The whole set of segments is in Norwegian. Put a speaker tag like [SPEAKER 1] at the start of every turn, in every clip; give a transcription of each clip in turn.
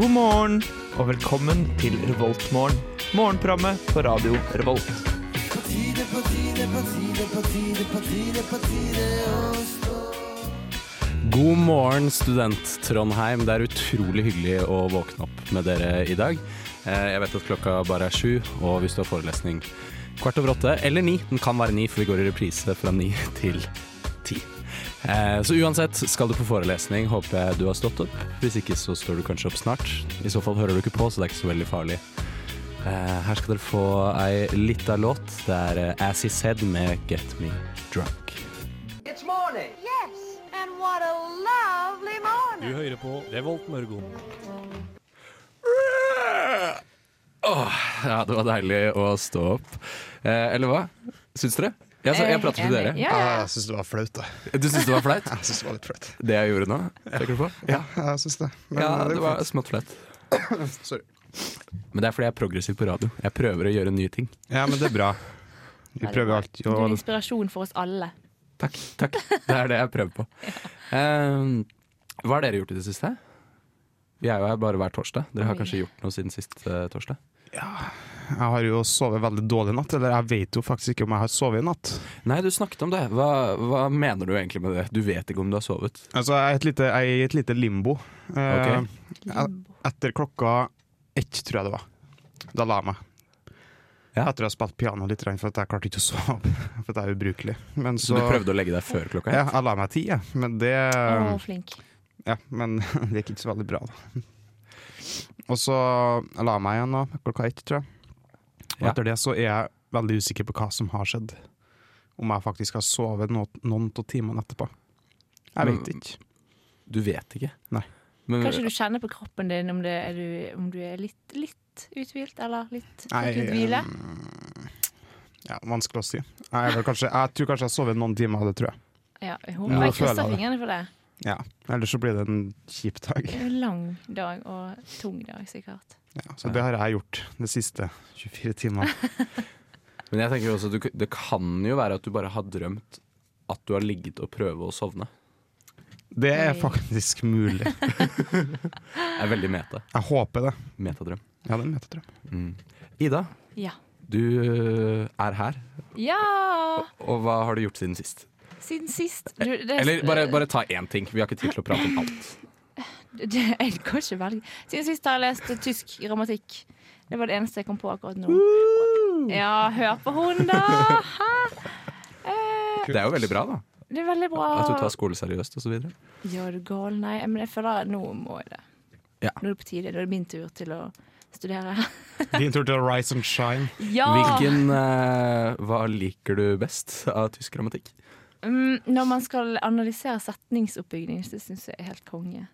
[SPEAKER 1] God morgen og velkommen til Revoltmorgen. Morgenprogrammet på radio Revolt.
[SPEAKER 2] God morgen, student Trondheim. Det er utrolig hyggelig å våkne opp med dere i dag. Eh, Jeg vet at klokka bare er sju, og hvis du har forelesning kvart over åtte eller ni Den kan være ni, for vi går i reprise fra ni til ti. Eh, Så uansett, skal du på forelesning, håper jeg du har stått opp. Hvis ikke, så står du kanskje opp snart. I så fall hører du ikke på, så det er ikke så veldig farlig. Eh, Her skal dere få ei lita låt. Det er eh, As He Said med Get Me Drunk.
[SPEAKER 3] It's morning.
[SPEAKER 4] Yes, and what a lovely morning.
[SPEAKER 5] Du hører på Revolt Mørgon.
[SPEAKER 2] Ja, det var deilig å stå opp. Eh, eller hva? Syns dere? Jeg, så, jeg prater
[SPEAKER 6] Eh,
[SPEAKER 2] til dere.
[SPEAKER 7] Ja, Ah, jeg syns det var flaut. da.
[SPEAKER 2] Du syns det var flaut?
[SPEAKER 7] Jeg synes det var litt flaut.
[SPEAKER 2] Det jeg gjorde nå? Tenker du på? Ja,
[SPEAKER 7] Jeg synes det. Men
[SPEAKER 2] ja
[SPEAKER 7] eh, det
[SPEAKER 2] det
[SPEAKER 7] er
[SPEAKER 2] var
[SPEAKER 7] fint.
[SPEAKER 2] smått flaut.
[SPEAKER 7] Sorry.
[SPEAKER 2] Men det er fordi jeg er progressiv på radio. Jeg prøver å gjøre nye ting.
[SPEAKER 7] Ja, men det er bra. Vi prøver alt.
[SPEAKER 6] Du er
[SPEAKER 7] Og
[SPEAKER 6] inspirasjon for oss alle.
[SPEAKER 2] Takk. takk. Det er det jeg prøver på. Eh, hva har dere gjort i det siste? Vi er jo her bare hver torsdag. Dere har kanskje gjort noe siden sist eh, torsdag?
[SPEAKER 7] jeg har jo sovet veldig dårlig i natt. Eller jeg vet jo faktisk ikke om jeg har sovet i natt.
[SPEAKER 2] Nei, du snakket om det. Hva, hva mener du egentlig med det? Du vet ikke om du har sovet.
[SPEAKER 7] Altså, jeg er et lite, jeg er i et lite limbo. Eh,
[SPEAKER 2] Ok.
[SPEAKER 6] Limbo.
[SPEAKER 7] Etter klokka ett, tror jeg det var. Da la jeg meg.
[SPEAKER 2] Ja.
[SPEAKER 7] Etter å ha spilt piano litt, grann, for at jeg klarte ikke å sove. For at jeg er ubrukelig. Men
[SPEAKER 2] Så
[SPEAKER 7] så,
[SPEAKER 2] du prøvde å legge deg før klokka?
[SPEAKER 7] ja, jeg la meg ti, jeg. Men det
[SPEAKER 2] Um,
[SPEAKER 6] Å, flink.
[SPEAKER 7] Ja, men det gikk ikke så veldig bra, da. Og så jeg la meg igjen da, klokka ett, tror jeg. Og
[SPEAKER 2] Ja.
[SPEAKER 7] etter det så er jeg veldig usikker på hva som har skjedd. Om jeg faktisk har sovet no noen av timene etterpå. Jeg
[SPEAKER 2] Men-
[SPEAKER 7] vet ikke.
[SPEAKER 2] Du vet ikke?
[SPEAKER 7] Nei.
[SPEAKER 2] Men,
[SPEAKER 6] Kanskje du kjenner på kroppen din om, det er du, om du er litt, litt uthvilt, eller litt
[SPEAKER 7] Nei,
[SPEAKER 2] um,
[SPEAKER 6] litt hvile.
[SPEAKER 7] mm, ja, vanskelig å si. Jeg, er vel kanskje, jeg tror kanskje jeg har sovet noen timer, det tror jeg.
[SPEAKER 6] Ja, jeg
[SPEAKER 7] Ja,
[SPEAKER 6] håper jeg
[SPEAKER 7] føler
[SPEAKER 6] krysser
[SPEAKER 7] det.
[SPEAKER 6] fingrene for det.
[SPEAKER 7] Ja. Ellers så blir det en kjip dag.
[SPEAKER 6] Det er jo lang dag og tung dag, sikkert.
[SPEAKER 7] Ja, så det har jeg gjort de siste 24 timene.
[SPEAKER 2] men jeg tenker jo også at du, det kan jo være at du bare har drømt at du har ligget og prøvd å sovne.
[SPEAKER 7] Det er
[SPEAKER 6] Oi.
[SPEAKER 7] faktisk mulig.
[SPEAKER 2] Det er veldig meta.
[SPEAKER 7] Jeg håper det.
[SPEAKER 2] Metadrøm.
[SPEAKER 7] Ja, det er en metatrøm.
[SPEAKER 2] Ida,
[SPEAKER 6] Ja.
[SPEAKER 2] du eh, er her,
[SPEAKER 6] ja!
[SPEAKER 2] og hva har du gjort siden sist?
[SPEAKER 6] Siden sist du, det,
[SPEAKER 2] Eller bare, bare ta én ting, vi har ikke tid til å prate om alt.
[SPEAKER 6] det, Jeg kan ikke velge. Siden sist har jeg lest tysk grammatikk. Det var det eneste jeg kom på akkurat nå. Ja, hør på hun, da! Hæ? Eh,
[SPEAKER 2] Det er jo veldig bra, da.
[SPEAKER 6] det er veldig bra.
[SPEAKER 2] At du tar skole seriøst osv.
[SPEAKER 6] Ja, er du gal? Nei, men jeg føler at nå må jeg det.
[SPEAKER 2] Ja.
[SPEAKER 6] Nå er det på tide. Nå er det min tur til å studere.
[SPEAKER 7] Din tur til å rise and shine.
[SPEAKER 6] ja!
[SPEAKER 2] Hvilken eh, Hva liker du best av tysk grammatikk?
[SPEAKER 6] Mm, når man skal analysere setningsoppbygging, så syns jeg er helt konge.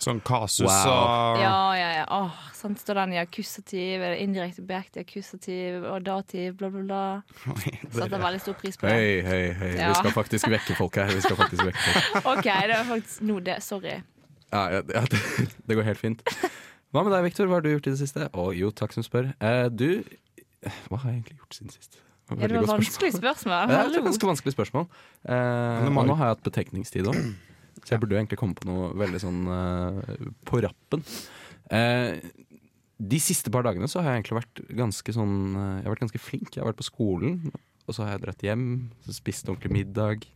[SPEAKER 7] Sånn kasus
[SPEAKER 2] Wow.
[SPEAKER 7] og
[SPEAKER 6] Ja, ja, ja. Åh, sant, står den i akkusativ, eller indirekte objekt i akkusativ og dativ, bla, bla, bla. Setter veldig stor pris på det.
[SPEAKER 2] Høy, høy, høy.
[SPEAKER 6] Ja.
[SPEAKER 2] Vi skal faktisk vekke folk her. Vi skal faktisk vekke folk.
[SPEAKER 6] OK, det var faktisk nå det. Sorry.
[SPEAKER 2] Ja, ja, ja det, det går helt fint. Hva med deg, Viktor? Hva har du gjort i det siste? Å, jo, takk som spør. Eh, du Hva har jeg egentlig gjort siden sist?
[SPEAKER 6] Ja, det
[SPEAKER 2] Veldig
[SPEAKER 6] var
[SPEAKER 2] godt
[SPEAKER 6] vanskelig spørsmål.
[SPEAKER 2] spørsmål. Ja, Det er
[SPEAKER 6] Hallo.
[SPEAKER 2] et ganske vanskelig spørsmål. Eh,
[SPEAKER 7] det må
[SPEAKER 2] og
[SPEAKER 7] jo-
[SPEAKER 2] nå har jeg hatt betenkningstid òg, så jeg burde jo egentlig komme på noe veldig sånn eh, på rappen. Eh, de siste par dagene så har jeg egentlig vært ganske sånn eh, Jeg har vært ganske flink. Jeg har vært på skolen, og så har jeg dratt hjem, så spist ordentlig middag.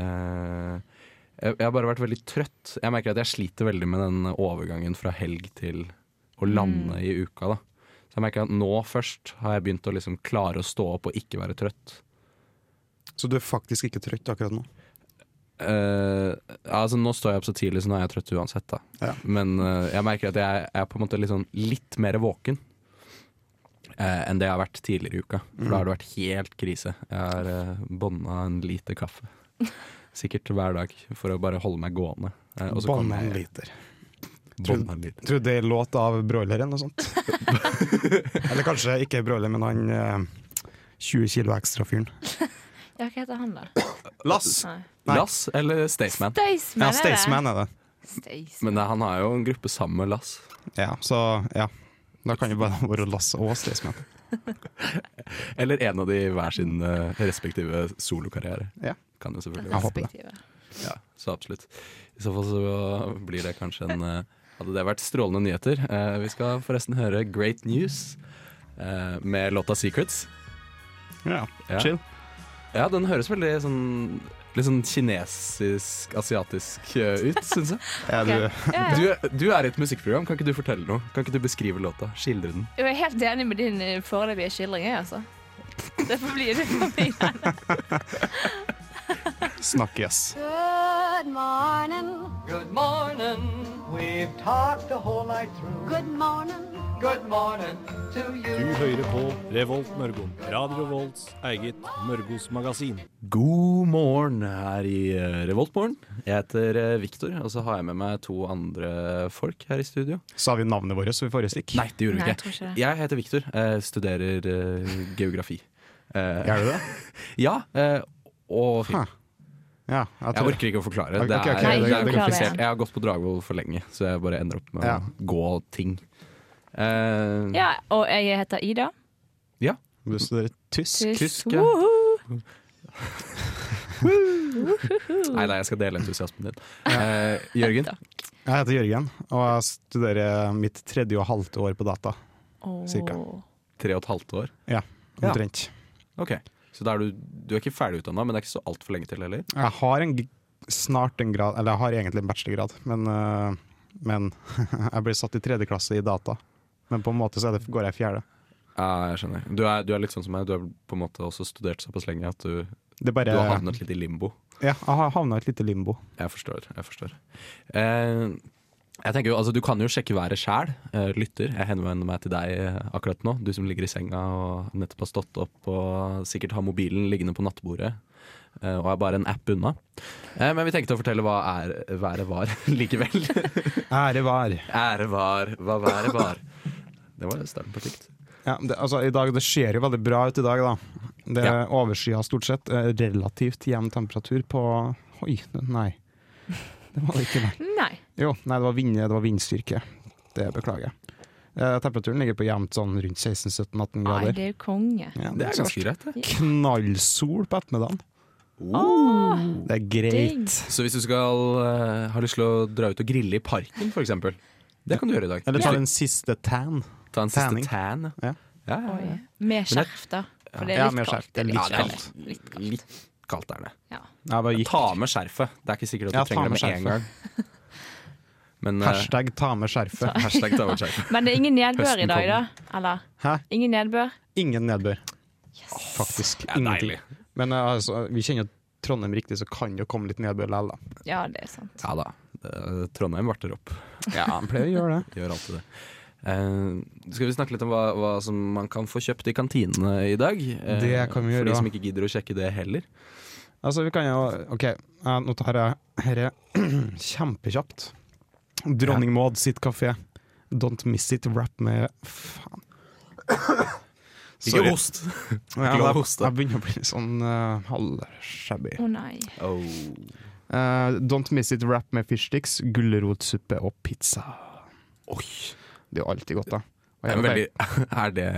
[SPEAKER 2] Eh, jeg, jeg har bare vært veldig trøtt. Jeg merker at jeg sliter veldig med den overgangen fra helg til å lande i uka, da. Så jeg merker at nå først har jeg begynt å liksom klare å stå opp og ikke være trøtt.
[SPEAKER 7] Så du er faktisk ikke trøtt akkurat nå?
[SPEAKER 2] Eh, altså Nå står jeg opp så tidlig, så nå er jeg trøtt uansett. da
[SPEAKER 7] Ja.
[SPEAKER 2] Men eh, jeg merker at jeg er på en måte litt, sånn, litt mer våken eh, enn det jeg har vært tidligere i uka. For da har det vært helt krise. Jeg har uh, bånda en liter kaffe. Sikkert hver dag, for å bare holde meg gående. Eh, og så kommer
[SPEAKER 7] Banan
[SPEAKER 2] jeg-
[SPEAKER 7] liter.
[SPEAKER 2] bånda en liter.
[SPEAKER 7] Tror du det er låt av broiler eller noe sånt? eller kanskje ikke broiler, men han eh, 20 kilo ekstra-fyren.
[SPEAKER 6] Ja, hva heter han, da?
[SPEAKER 7] Lass!
[SPEAKER 6] Nei.
[SPEAKER 7] Nei.
[SPEAKER 2] Lass eller Staysman?
[SPEAKER 6] Staysman,
[SPEAKER 7] Ja,
[SPEAKER 6] er det?
[SPEAKER 7] Staysman er det.
[SPEAKER 6] Staysman.
[SPEAKER 2] Men eh, han har jo en gruppe sammen med Lass.
[SPEAKER 7] Ja, så ja. Da kan jo bare være Lass og Staysman.
[SPEAKER 2] Eller en av de i hver sin eh, respektive solokarriere.
[SPEAKER 7] Ja.
[SPEAKER 2] Kan jo selvfølgelig
[SPEAKER 7] Jeg håper det.
[SPEAKER 6] Respektive.
[SPEAKER 2] Ja, så absolutt. I så fall så blir det kanskje en eh, Hadde det vært strålende nyheter. Eh, vi skal forresten høre Great News eh, med låta 'Secrets'.
[SPEAKER 7] Ja,
[SPEAKER 2] Ja.
[SPEAKER 7] chill.
[SPEAKER 2] Ja, den høres veldig sånn Litt sånn kinesisk, asiatisk eh, ut, syns jeg.
[SPEAKER 7] Ja, du,
[SPEAKER 6] Ja, ja.
[SPEAKER 2] Du, du er i et musikkprogram, kan ikke du fortelle noe? Kan ikke du beskrive låta? Skildre den?
[SPEAKER 6] Jeg er helt enig med din eh, foreløpige skildring, jeg, altså. Det får bli det for meg.
[SPEAKER 7] Snakkes.
[SPEAKER 4] Good morning.
[SPEAKER 3] Good morning. We've talked the whole night through.
[SPEAKER 4] Good morning.
[SPEAKER 3] Good morning to you.
[SPEAKER 5] Du hører på Revolt Mørgo. Radio Revolts eget Mørgos magasin.
[SPEAKER 2] God morgen her i eh, Revoltmorgen. Jeg heter eh, Victor, og så har jeg med meg to andre folk her i studio.
[SPEAKER 7] Sa vi navnet vårt ved forrige stikk?
[SPEAKER 2] Nei, det gjorde
[SPEAKER 6] Nei,
[SPEAKER 2] vi
[SPEAKER 6] jeg
[SPEAKER 2] ikke.
[SPEAKER 6] tror ikke det.
[SPEAKER 2] Jeg heter Victor, eh, studerer eh, geografi. Eh,
[SPEAKER 7] Gjør du det?
[SPEAKER 2] ja, eh, og
[SPEAKER 7] Hæ, Ja,
[SPEAKER 2] Jeg
[SPEAKER 7] jeg tror det.
[SPEAKER 2] orker ikke å forklare.
[SPEAKER 7] Ok,
[SPEAKER 2] Det er,
[SPEAKER 7] ok, ok,
[SPEAKER 6] det-
[SPEAKER 2] det
[SPEAKER 6] det-
[SPEAKER 2] er
[SPEAKER 6] det-
[SPEAKER 2] komplisert. Jeg har gått på Dragvoll for lenge, så jeg bare ender opp med
[SPEAKER 7] Ja.
[SPEAKER 2] å gå ting. Eh,
[SPEAKER 6] Ja, og jeg heter Ida.
[SPEAKER 7] Du studerer tysk?
[SPEAKER 2] Tysk, ja.
[SPEAKER 6] Woohoo!
[SPEAKER 2] Nei, nei, jeg skal dele entusiasmen din. Eh, Jørgen,
[SPEAKER 7] Jeg heter Jørgen, og jeg studerer mitt tredje og halvte år på data.
[SPEAKER 6] Åh.
[SPEAKER 7] Cirka.
[SPEAKER 2] tre og et halvt år. Ja.
[SPEAKER 7] Omtrent.
[SPEAKER 2] Ok, Så da er du, du er ikke ferdig utdanna, men det er ikke så altfor lenge til heller.
[SPEAKER 7] Jeg har en, g- snart en grad, eller jeg har egentlig en bachelorgrad, men, øh, men jeg ble satt i tredje klasse i data. Men på en måte så er det, går jeg i fjerde.
[SPEAKER 2] Ja, jeg skjønner. Eh, Du er, du er litt sånn som meg. Du har på en måte også studert såpass lenge at du,
[SPEAKER 7] Det er
[SPEAKER 2] du
[SPEAKER 7] bare,
[SPEAKER 2] har havnet litt i limbo.
[SPEAKER 7] Ja, jeg har havna i et lite limbo.
[SPEAKER 2] Jeg forstår. jeg forstår. Eh, jeg tenker jo, altså Du kan jo sjekke været sjæl, eh, lytter. Jeg henvender meg til deg eh, akkurat nå. Du som ligger i senga og nettopp har stått opp og sikkert har mobilen liggende på nattbordet. eh, Og er bare en app unna. Eh, Men vi tenkte å fortelle hva er, været var likevel.
[SPEAKER 7] Ære var.
[SPEAKER 2] Ære var hva været var. Det var stemmen på slikt.
[SPEAKER 7] Ja, det, altså, i dag, det ser jo veldig bra ut i dag, da. Det er
[SPEAKER 2] Ja.
[SPEAKER 7] overskya stort sett. eh, Relativt jevn temperatur på Oi, nei. Det var det ikke, nei.
[SPEAKER 6] Nei.
[SPEAKER 7] Jo, nei, det var, vind, det var vindstyrke. Det beklager jeg. Eh, temperaturen ligger på jevnt sånn rundt 16-17-18
[SPEAKER 6] Nei,
[SPEAKER 7] grader.
[SPEAKER 6] det er jo konge.
[SPEAKER 7] Ja,
[SPEAKER 2] Det er ganske greit, det.
[SPEAKER 7] Knallsol på ettermiddagen. Oh,
[SPEAKER 6] Åh,
[SPEAKER 7] Det er greit.
[SPEAKER 2] Så hvis du skal eh, ha lyst til å dra ut og grille i parken, f.eks. Det kan du gjøre i dag.
[SPEAKER 7] Eller ta den siste tan.
[SPEAKER 2] Ta en siste
[SPEAKER 7] tanning.
[SPEAKER 2] tan.
[SPEAKER 7] Ja.
[SPEAKER 2] Ja, ja,
[SPEAKER 6] Oi.
[SPEAKER 2] ja.
[SPEAKER 6] Med skjerf, da. For det er
[SPEAKER 7] Ja,
[SPEAKER 6] litt
[SPEAKER 7] med skjerf.
[SPEAKER 6] kaldt.
[SPEAKER 7] Det er litt
[SPEAKER 2] kaldt.
[SPEAKER 6] Litt kaldt.
[SPEAKER 2] Litt kaldt er det.
[SPEAKER 6] Ja.
[SPEAKER 7] Jeg bare gikk.
[SPEAKER 2] Ta med skjerfet. Det er ikke sikkert at du
[SPEAKER 7] Ja, ta
[SPEAKER 2] trenger det
[SPEAKER 7] med
[SPEAKER 2] med en gang. Men eh,
[SPEAKER 7] Hashtag ta med skjerfet.
[SPEAKER 2] hashtag ta med skjerfet.
[SPEAKER 6] Men det er ingen nedbør
[SPEAKER 2] Høsten
[SPEAKER 6] i dag, da? Eller?
[SPEAKER 7] Hæ?
[SPEAKER 6] Ingen nedbør?
[SPEAKER 7] Ingen nedbør. Faktisk.
[SPEAKER 2] Det er
[SPEAKER 7] Ingenting.
[SPEAKER 2] deilig.
[SPEAKER 7] Men eh, altså, vi kjenner jo Trondheim riktig, så kan det jo komme litt nedbør likevel, da.
[SPEAKER 6] Ja, det er sant.
[SPEAKER 2] Ja da. Eh, Trondheim varter opp.
[SPEAKER 7] Ja, han pleier å gjøre det.
[SPEAKER 2] Gjør alltid det. Eh, skal vi snakke litt om hva, hva som man kan få kjøpt i kantinene i dag? Eh,
[SPEAKER 7] Det kan vi gjøre,
[SPEAKER 2] For de som
[SPEAKER 7] ja.
[SPEAKER 2] ikke gidder å sjekke det heller.
[SPEAKER 7] Altså, vi kan jo OK, eh, nå tar jeg dette kjempekjapt. Dronning Maud sitt kafé. Don't miss it, rap med Faen. Sorry.
[SPEAKER 2] host!
[SPEAKER 7] Ja,
[SPEAKER 2] lov å
[SPEAKER 7] jeg,
[SPEAKER 2] hoste.
[SPEAKER 7] jeg begynner å bli sånn uh, halvshabby.
[SPEAKER 6] Å nei.
[SPEAKER 2] Oh.
[SPEAKER 7] Eh, Don't miss it wrap med fishsticks, gulrotsuppe og pizza.
[SPEAKER 2] Oi.
[SPEAKER 7] Det er jo alltid godt, da. Og
[SPEAKER 2] Det er,
[SPEAKER 7] jeg
[SPEAKER 2] en
[SPEAKER 7] vet-
[SPEAKER 2] veldig, er det,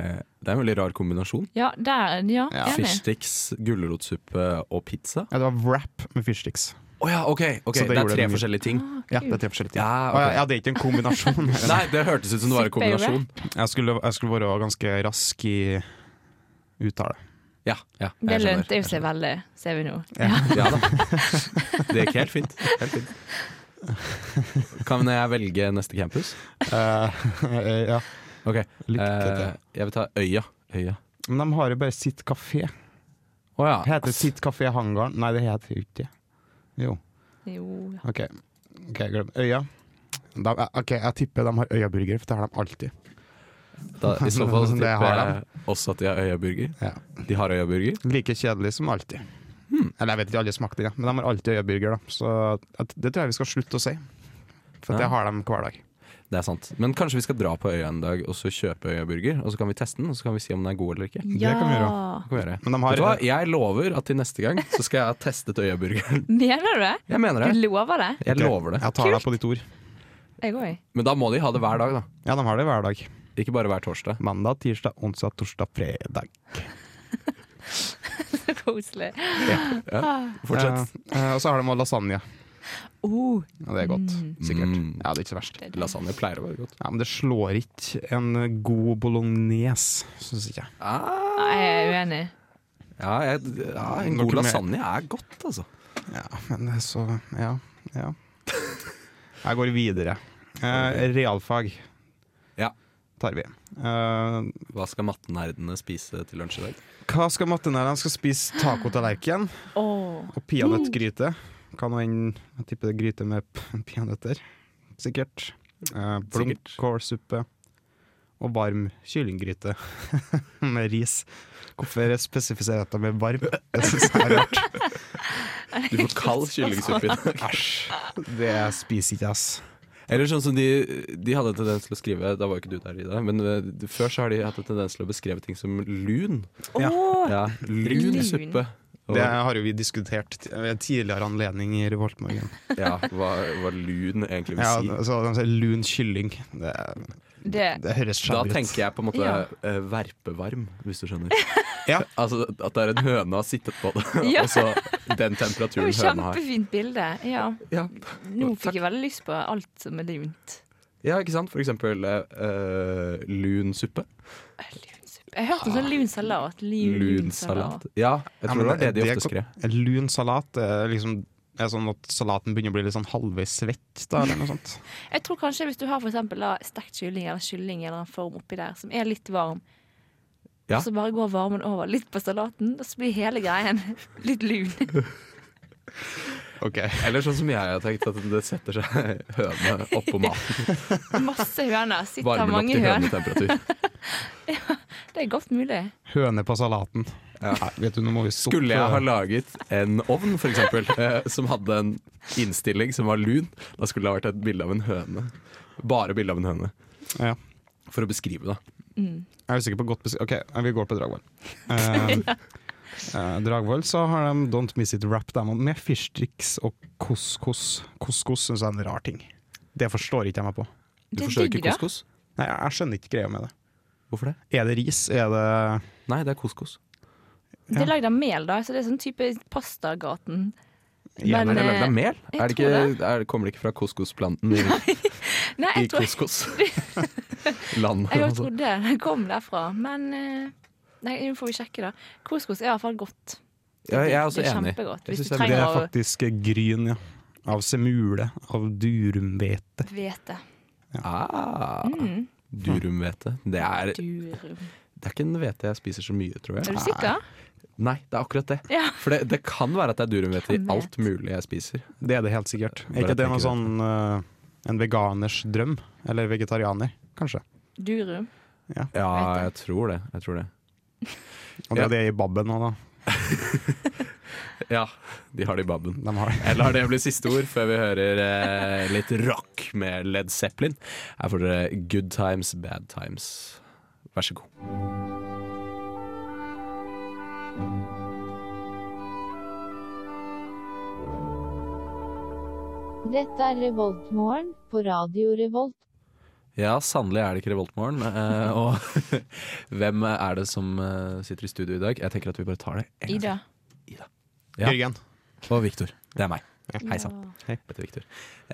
[SPEAKER 2] det er en veldig rar kombinasjon.
[SPEAKER 6] Ja, der. Ja,
[SPEAKER 7] Ja.
[SPEAKER 6] enig.
[SPEAKER 2] Fishsticks, gulrotsuppe og pizza.
[SPEAKER 7] ja, det var wrap med fishsticks.
[SPEAKER 2] Å ja, ok! ok, det,
[SPEAKER 7] Så det gjorde
[SPEAKER 2] er tre
[SPEAKER 7] det mye.
[SPEAKER 2] forskjellige ting.
[SPEAKER 6] Ah,
[SPEAKER 7] Ja, det er tre forskjellige ting.
[SPEAKER 2] Ja, ok.
[SPEAKER 7] Og jeg- ja, det er ikke en kombinasjon.
[SPEAKER 2] Nei, det hørtes ut som det var en
[SPEAKER 6] Suppe i
[SPEAKER 2] kombinasjon.
[SPEAKER 7] jeg, skulle, jeg skulle være ganske rask i uttale.
[SPEAKER 2] Ja, ja, jeg
[SPEAKER 6] Det
[SPEAKER 2] skjønner,
[SPEAKER 6] lønte
[SPEAKER 2] jeg
[SPEAKER 6] jo seg veldig, ser vi nå.
[SPEAKER 2] skjønner. Ja da. Det gikk helt fint. Helt fint. Kan jeg velge neste campus?
[SPEAKER 7] Eh, ja.
[SPEAKER 2] Ok,
[SPEAKER 7] Lykke til.
[SPEAKER 2] eh, jeg vil ta Øya. Øya.
[SPEAKER 7] Men de har jo bare sitt kafé.
[SPEAKER 2] Å ja.
[SPEAKER 7] Heter det sitt kafé Hangaren? Nei, det heter jo ikke det. Jo,
[SPEAKER 6] Jo.
[SPEAKER 7] OK. Ok, glem Øya. De, ok, Jeg tipper de har Øyaburger, for det har de alltid.
[SPEAKER 2] Da, I så fall så
[SPEAKER 7] Det
[SPEAKER 2] tipper
[SPEAKER 7] har
[SPEAKER 2] jeg også at de har Øya-burger.
[SPEAKER 7] Ja.
[SPEAKER 2] De har Øya-burger.
[SPEAKER 7] Like kjedelig som alltid.
[SPEAKER 2] Hmm.
[SPEAKER 7] Eller jeg vet ikke, alle smakte det, men de har alltid øyeburger, da. Så at- det tror jeg vi skal slutte å si. For
[SPEAKER 2] Ja.
[SPEAKER 7] at det har de hver dag.
[SPEAKER 2] Det er sant. Men kanskje vi skal dra på Øya en dag og så kjøpe Øya-burger, og så kan vi teste den, og så kan vi si om den er god eller ikke. Det
[SPEAKER 6] Ja.
[SPEAKER 7] kan vi
[SPEAKER 2] kan vi gjøre.
[SPEAKER 7] Men de
[SPEAKER 2] Vet du hva?
[SPEAKER 7] har
[SPEAKER 2] Jeg lover at til neste gang så skal jeg ha testet Øya-burgeren.
[SPEAKER 6] Mener du det?
[SPEAKER 2] Jeg mener
[SPEAKER 6] Du
[SPEAKER 2] det.
[SPEAKER 6] lover det?
[SPEAKER 2] Jeg lover det.
[SPEAKER 7] Jeg tar deg på ditt ord.
[SPEAKER 6] Jeg òg.
[SPEAKER 2] Men da må de ha det hver dag, da.
[SPEAKER 7] Ja, de har det hver dag.
[SPEAKER 2] Ikke bare hver torsdag.
[SPEAKER 7] Mandag, tirsdag, onsdag, torsdag, fredag.
[SPEAKER 6] Koselig.
[SPEAKER 2] Fortsett.
[SPEAKER 7] Eh, eh, og så har de også lasagne.
[SPEAKER 6] Oh,
[SPEAKER 7] Ja, det er godt, sikkert.
[SPEAKER 2] Mm.
[SPEAKER 7] Ja, det er ikke så verst.
[SPEAKER 2] Lasagne pleier å være godt.
[SPEAKER 7] Ja, men det slår ikke en god bolognese, syns ikke jeg.
[SPEAKER 6] nei, jeg er uenig.
[SPEAKER 2] Ja, jeg, ja en
[SPEAKER 7] Går
[SPEAKER 2] god
[SPEAKER 7] ikke med.
[SPEAKER 2] lasagne er godt, altså.
[SPEAKER 7] Ja, men det er så Ja. ja. Jeg går videre. Eh, realfag
[SPEAKER 2] Ja.
[SPEAKER 7] tar vi. Eh,
[SPEAKER 2] Hva skal mattenerdene spise til lunsj i dag?
[SPEAKER 7] hva skal mattenærene skal spise? Tacotallerken
[SPEAKER 6] Åh,
[SPEAKER 7] og peanøttgryte. Kan noe enn Jeg tipper det er gryte med p- peanøtter. Sikkert. Eh, Blomkålsuppe. Og varm kyllinggryte med ris. Hvorfor spesifiserer jeg dette med varm? Jeg synes det er rart.
[SPEAKER 2] Du får kald kyllingsuppe i dag.
[SPEAKER 7] Æsj. Det spiser ikke, ass.
[SPEAKER 2] Eller sånn som de, de hadde en tendens til å skrive Da var jo ikke du der, Ida, men eh, før så har de hatt en tendens til å beskrive ting som lun.
[SPEAKER 7] Ja.
[SPEAKER 6] Åh,
[SPEAKER 2] Ja, lun
[SPEAKER 6] Lun.
[SPEAKER 2] suppe. Og,
[SPEAKER 7] Det har jo vi diskutert t- ved tidligere anledning i Revoltmorgen.
[SPEAKER 2] ja, hva, hva lun egentlig vil
[SPEAKER 7] Ja,
[SPEAKER 2] si.
[SPEAKER 7] altså, altså, lun kylling. Det,
[SPEAKER 6] det,
[SPEAKER 7] det høres
[SPEAKER 2] Da
[SPEAKER 7] sjanger ut.
[SPEAKER 2] tenker jeg på en måte
[SPEAKER 6] Ja.
[SPEAKER 2] eh, verpevarm, hvis du skjønner.
[SPEAKER 7] Ja.
[SPEAKER 2] Altså At det er en høne har sittet på det,
[SPEAKER 6] Ja.
[SPEAKER 2] og så den
[SPEAKER 6] det var
[SPEAKER 2] temperaturen
[SPEAKER 6] jo
[SPEAKER 2] høna har.
[SPEAKER 6] kjempefint bilde. Ja.
[SPEAKER 2] Ja.
[SPEAKER 6] Nå
[SPEAKER 2] Takk.
[SPEAKER 6] fikk jeg veldig lyst på alt som er lunt.
[SPEAKER 2] ja, ikke sant? For eksempel eh, eh, lun suppe.
[SPEAKER 6] Lun suppe. Eh, Jeg hørte om sånn lun salat. Lun,
[SPEAKER 2] Lun
[SPEAKER 6] lun salat.
[SPEAKER 2] salat. Ja, jeg
[SPEAKER 7] Ja,
[SPEAKER 2] tror
[SPEAKER 7] men
[SPEAKER 2] det var det de ofte
[SPEAKER 7] kom-
[SPEAKER 2] skrev.
[SPEAKER 7] Lun salat er liksom er sånn at salaten begynner å bli litt sånn halvveis svett, da, eller noe sånt.
[SPEAKER 6] Jeg tror kanskje hvis du har for eksempel, da, stekt kylling eller kylling i en eller annen form oppi der, som er litt varm,
[SPEAKER 2] Ja.
[SPEAKER 6] og så bare går varmen over litt på salaten, og så blir hele greien litt lun.
[SPEAKER 7] Ok.
[SPEAKER 2] Eller sånn som jeg har tenkt, at det setter seg høne oppå maten.
[SPEAKER 6] Masse høner. Sitter
[SPEAKER 2] Varmer opp
[SPEAKER 6] mange
[SPEAKER 2] til
[SPEAKER 6] høner.
[SPEAKER 2] hønetemperatur.
[SPEAKER 6] Det er godt mulig.
[SPEAKER 7] Høne på salaten.
[SPEAKER 2] Ja.
[SPEAKER 7] Nei, vet du, nå må vi stoppe.
[SPEAKER 2] Skulle jeg ha laget en ovn, for eksempel, eh, som hadde en innstilling som var lun, da skulle det ha vært et bilde av en høne. Bare bilde av en høne.
[SPEAKER 7] Ja.
[SPEAKER 2] For å beskrive, da.
[SPEAKER 7] Jeg er usikker på godt besk... Ok, vi går på Dragvoll. Eh, eh, Dragvoll så har de Don't Miss It Wrap dem med fyrstiks og couscous. Couscous syns jeg er en rar ting. Det forstår ikke jeg meg på.
[SPEAKER 2] Du
[SPEAKER 6] Det er
[SPEAKER 2] forstår ikke
[SPEAKER 6] digg, da.
[SPEAKER 2] couscous?
[SPEAKER 7] Nei, jeg, jeg skjønner ikke greia med det.
[SPEAKER 2] Hvorfor det?
[SPEAKER 7] Er det ris? Er det
[SPEAKER 2] Nei, det er couscous.
[SPEAKER 6] Det er lagd av mel, da, så det er sånn type pastagaten.
[SPEAKER 7] Ja,
[SPEAKER 2] Er det
[SPEAKER 6] eh,
[SPEAKER 2] lagd av mel?
[SPEAKER 6] jeg
[SPEAKER 2] Er det ikke,
[SPEAKER 6] tror
[SPEAKER 2] er, kommer det ikke fra couscousplanten i,
[SPEAKER 6] Nei,
[SPEAKER 2] i
[SPEAKER 6] jeg tror
[SPEAKER 2] couscous? Landet,
[SPEAKER 6] jeg
[SPEAKER 2] altså.
[SPEAKER 6] trodde den kom derfra, men eh, Nei, nå får vi sjekke, da. Couscous er iallfall godt.
[SPEAKER 2] Ja, jeg er også
[SPEAKER 6] det er
[SPEAKER 2] enig.
[SPEAKER 6] kjempegodt.
[SPEAKER 2] Jeg
[SPEAKER 6] Hvis
[SPEAKER 2] synes
[SPEAKER 6] du
[SPEAKER 2] det
[SPEAKER 7] Det
[SPEAKER 6] trenger
[SPEAKER 7] er
[SPEAKER 6] å
[SPEAKER 7] faktisk gryn, ja. Av semule. Av durumhvete.
[SPEAKER 6] hvete.
[SPEAKER 2] Ah,
[SPEAKER 6] Mm.
[SPEAKER 2] durumhvete. Det er,
[SPEAKER 6] Durum.
[SPEAKER 2] det er ikke en hvete jeg spiser så mye, tror jeg. Ah.
[SPEAKER 6] Er du sikker?
[SPEAKER 2] Nei, det er akkurat det.
[SPEAKER 6] Ja.
[SPEAKER 2] For det, det kan være at det er durumhvete i
[SPEAKER 6] Hvem vet?
[SPEAKER 2] alt mulig jeg spiser.
[SPEAKER 7] Det er det helt sikkert. Er
[SPEAKER 2] Bare
[SPEAKER 7] ikke det noe
[SPEAKER 2] tenker
[SPEAKER 7] sånn eh, en veganers drøm? Eller vegetarianer, kanskje.
[SPEAKER 6] Durum.
[SPEAKER 2] Ja,
[SPEAKER 6] Vet
[SPEAKER 2] jeg tror det. Jeg tror det.
[SPEAKER 7] Og det er det i Babben nå, da.
[SPEAKER 2] Ja, de har det i babben.
[SPEAKER 7] De har det.
[SPEAKER 2] Jeg lar det bli siste ord før vi hører eh, litt rock med Led Zeppelin. Her får dere Good Times, Bad Times. Vær så god.
[SPEAKER 8] Dette er Revoltmorgen på Radio Revolt.
[SPEAKER 2] Ja, sannelig er det ikke Revoltmorgen. eh, og hvem er det som eh, sitter i studio i dag? Jeg tenker at vi bare tar det en gang.
[SPEAKER 6] Ida.
[SPEAKER 2] Ja.
[SPEAKER 7] Jørgen.
[SPEAKER 2] Og Viktor. Det er meg. Hei sann.
[SPEAKER 6] Ja.
[SPEAKER 2] Jeg heter Victor.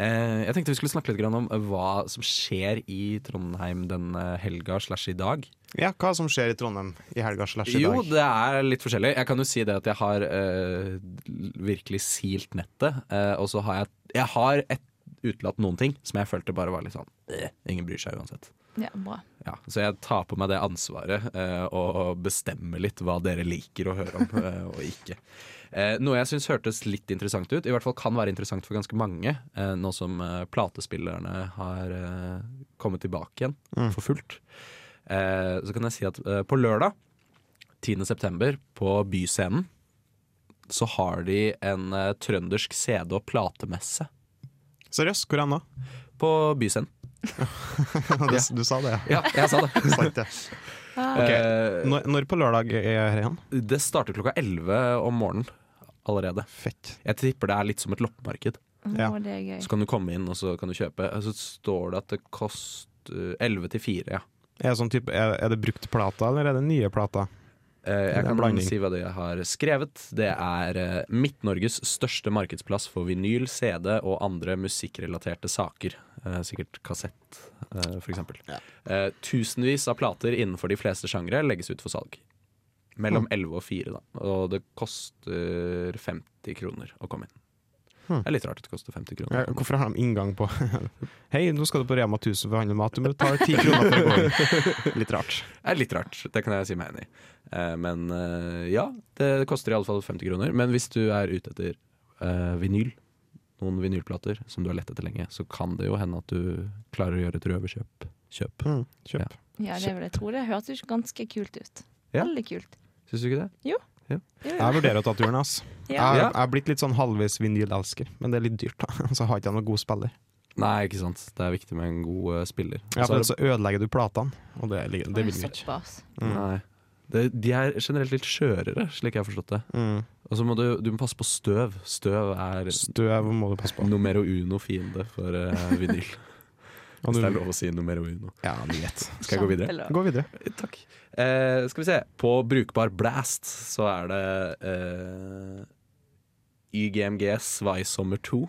[SPEAKER 2] Eh, jeg tenkte vi skulle snakke litt grann om eh, hva som skjer i Trondheim denne helga slash i dag.
[SPEAKER 7] Ja, hva som skjer i Trondheim i helga slash i dag?
[SPEAKER 2] Jo, det er litt forskjellig. Jeg kan jo si det at jeg har eh, virkelig silt nettet. eh, og så har jeg, jeg har et, utelatt noen ting som jeg følte bare var litt sånn eh, Ingen bryr seg uansett.
[SPEAKER 6] ja, bra.
[SPEAKER 2] Ja, så jeg tar på meg det ansvaret eh, og bestemmer litt hva dere liker å høre om eh, og ikke. Eh, noe jeg syns hørtes litt interessant ut, i hvert fall kan være interessant for ganske mange, eh, nå som eh, platespillerne har eh, kommet tilbake igjen for fullt. Eh, så kan jeg si at eh, på lørdag 10. september på Byscenen så har de en eh, trøndersk CD- og platemesse
[SPEAKER 7] Seriøst, hvor er han da?
[SPEAKER 2] på Byscenen.
[SPEAKER 7] Du, du sa det, ja.
[SPEAKER 2] Ja, jeg sa det.
[SPEAKER 7] Sant det.
[SPEAKER 2] Eh,
[SPEAKER 7] Når, når på lørdag er jeg her igjen?
[SPEAKER 2] Det starter klokka 11 om morgenen allerede.
[SPEAKER 7] Fett.
[SPEAKER 2] Jeg tipper det er litt som et loppemarked.
[SPEAKER 6] Å,
[SPEAKER 7] Ja.
[SPEAKER 6] det er gøy.
[SPEAKER 2] Så kan du komme inn og så kan du kjøpe. Og Så står det at det koster 11 til 4, ja.
[SPEAKER 7] Er, sånn type, er, er det brukt plata, eller er det nye plata?
[SPEAKER 2] Eh,
[SPEAKER 7] er
[SPEAKER 2] Jeg
[SPEAKER 7] en
[SPEAKER 2] kan
[SPEAKER 7] blanding.
[SPEAKER 2] si hva det jeg har skrevet. Det er eh, Midt-Norges største markedsplass for vinyl, CD og andre musikkrelaterte saker. Eh, Sikkert kassett, eh, for eksempel. Eh, Tusenvis av plater innenfor de fleste sjangre legges ut for salg. Mellom
[SPEAKER 7] Hm.
[SPEAKER 2] 11 og 4, da. Og det koster 50 kroner å komme inn.
[SPEAKER 7] Hmm.
[SPEAKER 2] Det er litt rart at det koster 50
[SPEAKER 7] Ja,
[SPEAKER 2] kroner. å komme
[SPEAKER 7] hvorfor har de inngang på Hei, nå skal du på Rema 1000 for å handle mat, du må betale ti kroner for å gå inn. Litt rart.
[SPEAKER 2] Det er litt rart, det kan jeg si meg enig i. Eh, Men eh, ja, det koster iallfall 50 kroner. Men hvis du er ute etter eh, vinyl, noen vinylplater som du har lett etter lenge, så kan det jo hende at du klarer å gjøre et røverkjøp. Kjøp.
[SPEAKER 7] Mm, kjøp.
[SPEAKER 2] Ja.
[SPEAKER 6] Ja, det vil jeg tro. Det hørtes jo ganske kult ut.
[SPEAKER 2] Ja.
[SPEAKER 6] Veldig kult.
[SPEAKER 2] Syns du ikke det?
[SPEAKER 6] Det gjør
[SPEAKER 7] Jeg
[SPEAKER 6] det.
[SPEAKER 7] vurderer å ta turen, ass.
[SPEAKER 6] Ja.
[SPEAKER 7] Jeg,
[SPEAKER 2] Ja.
[SPEAKER 7] jeg er blitt litt sånn halvveis vinylelsker, men det er litt dyrt, da. Så har ikke jeg noen god spiller.
[SPEAKER 2] Nei, ikke sant. Det er viktig med en god eh, spiller. Og så
[SPEAKER 7] Ja, for
[SPEAKER 2] er
[SPEAKER 7] ellers så ødelegger du platene, og det, ligger- det
[SPEAKER 6] Oi,
[SPEAKER 7] mm. vil vi ikke.
[SPEAKER 6] Såpass.
[SPEAKER 2] det- Nei. Det, de er generelt litt skjørere, slik jeg har forstått det.
[SPEAKER 7] Mm.
[SPEAKER 2] Og så må du, du må passe på støv. Støv er
[SPEAKER 7] Støv må du passe på.
[SPEAKER 2] numero uno fiende for eh, vinyl.
[SPEAKER 7] Og
[SPEAKER 2] Hvis det er
[SPEAKER 7] du,
[SPEAKER 2] lov å si numero uno.
[SPEAKER 7] ja, du vet.
[SPEAKER 2] Skal jeg gå videre?
[SPEAKER 6] Kjempelov.
[SPEAKER 7] Gå videre.
[SPEAKER 2] Takk. Eh, skal vi se. På brukbar blast så er det eh, YGMGs Svaisommer 2.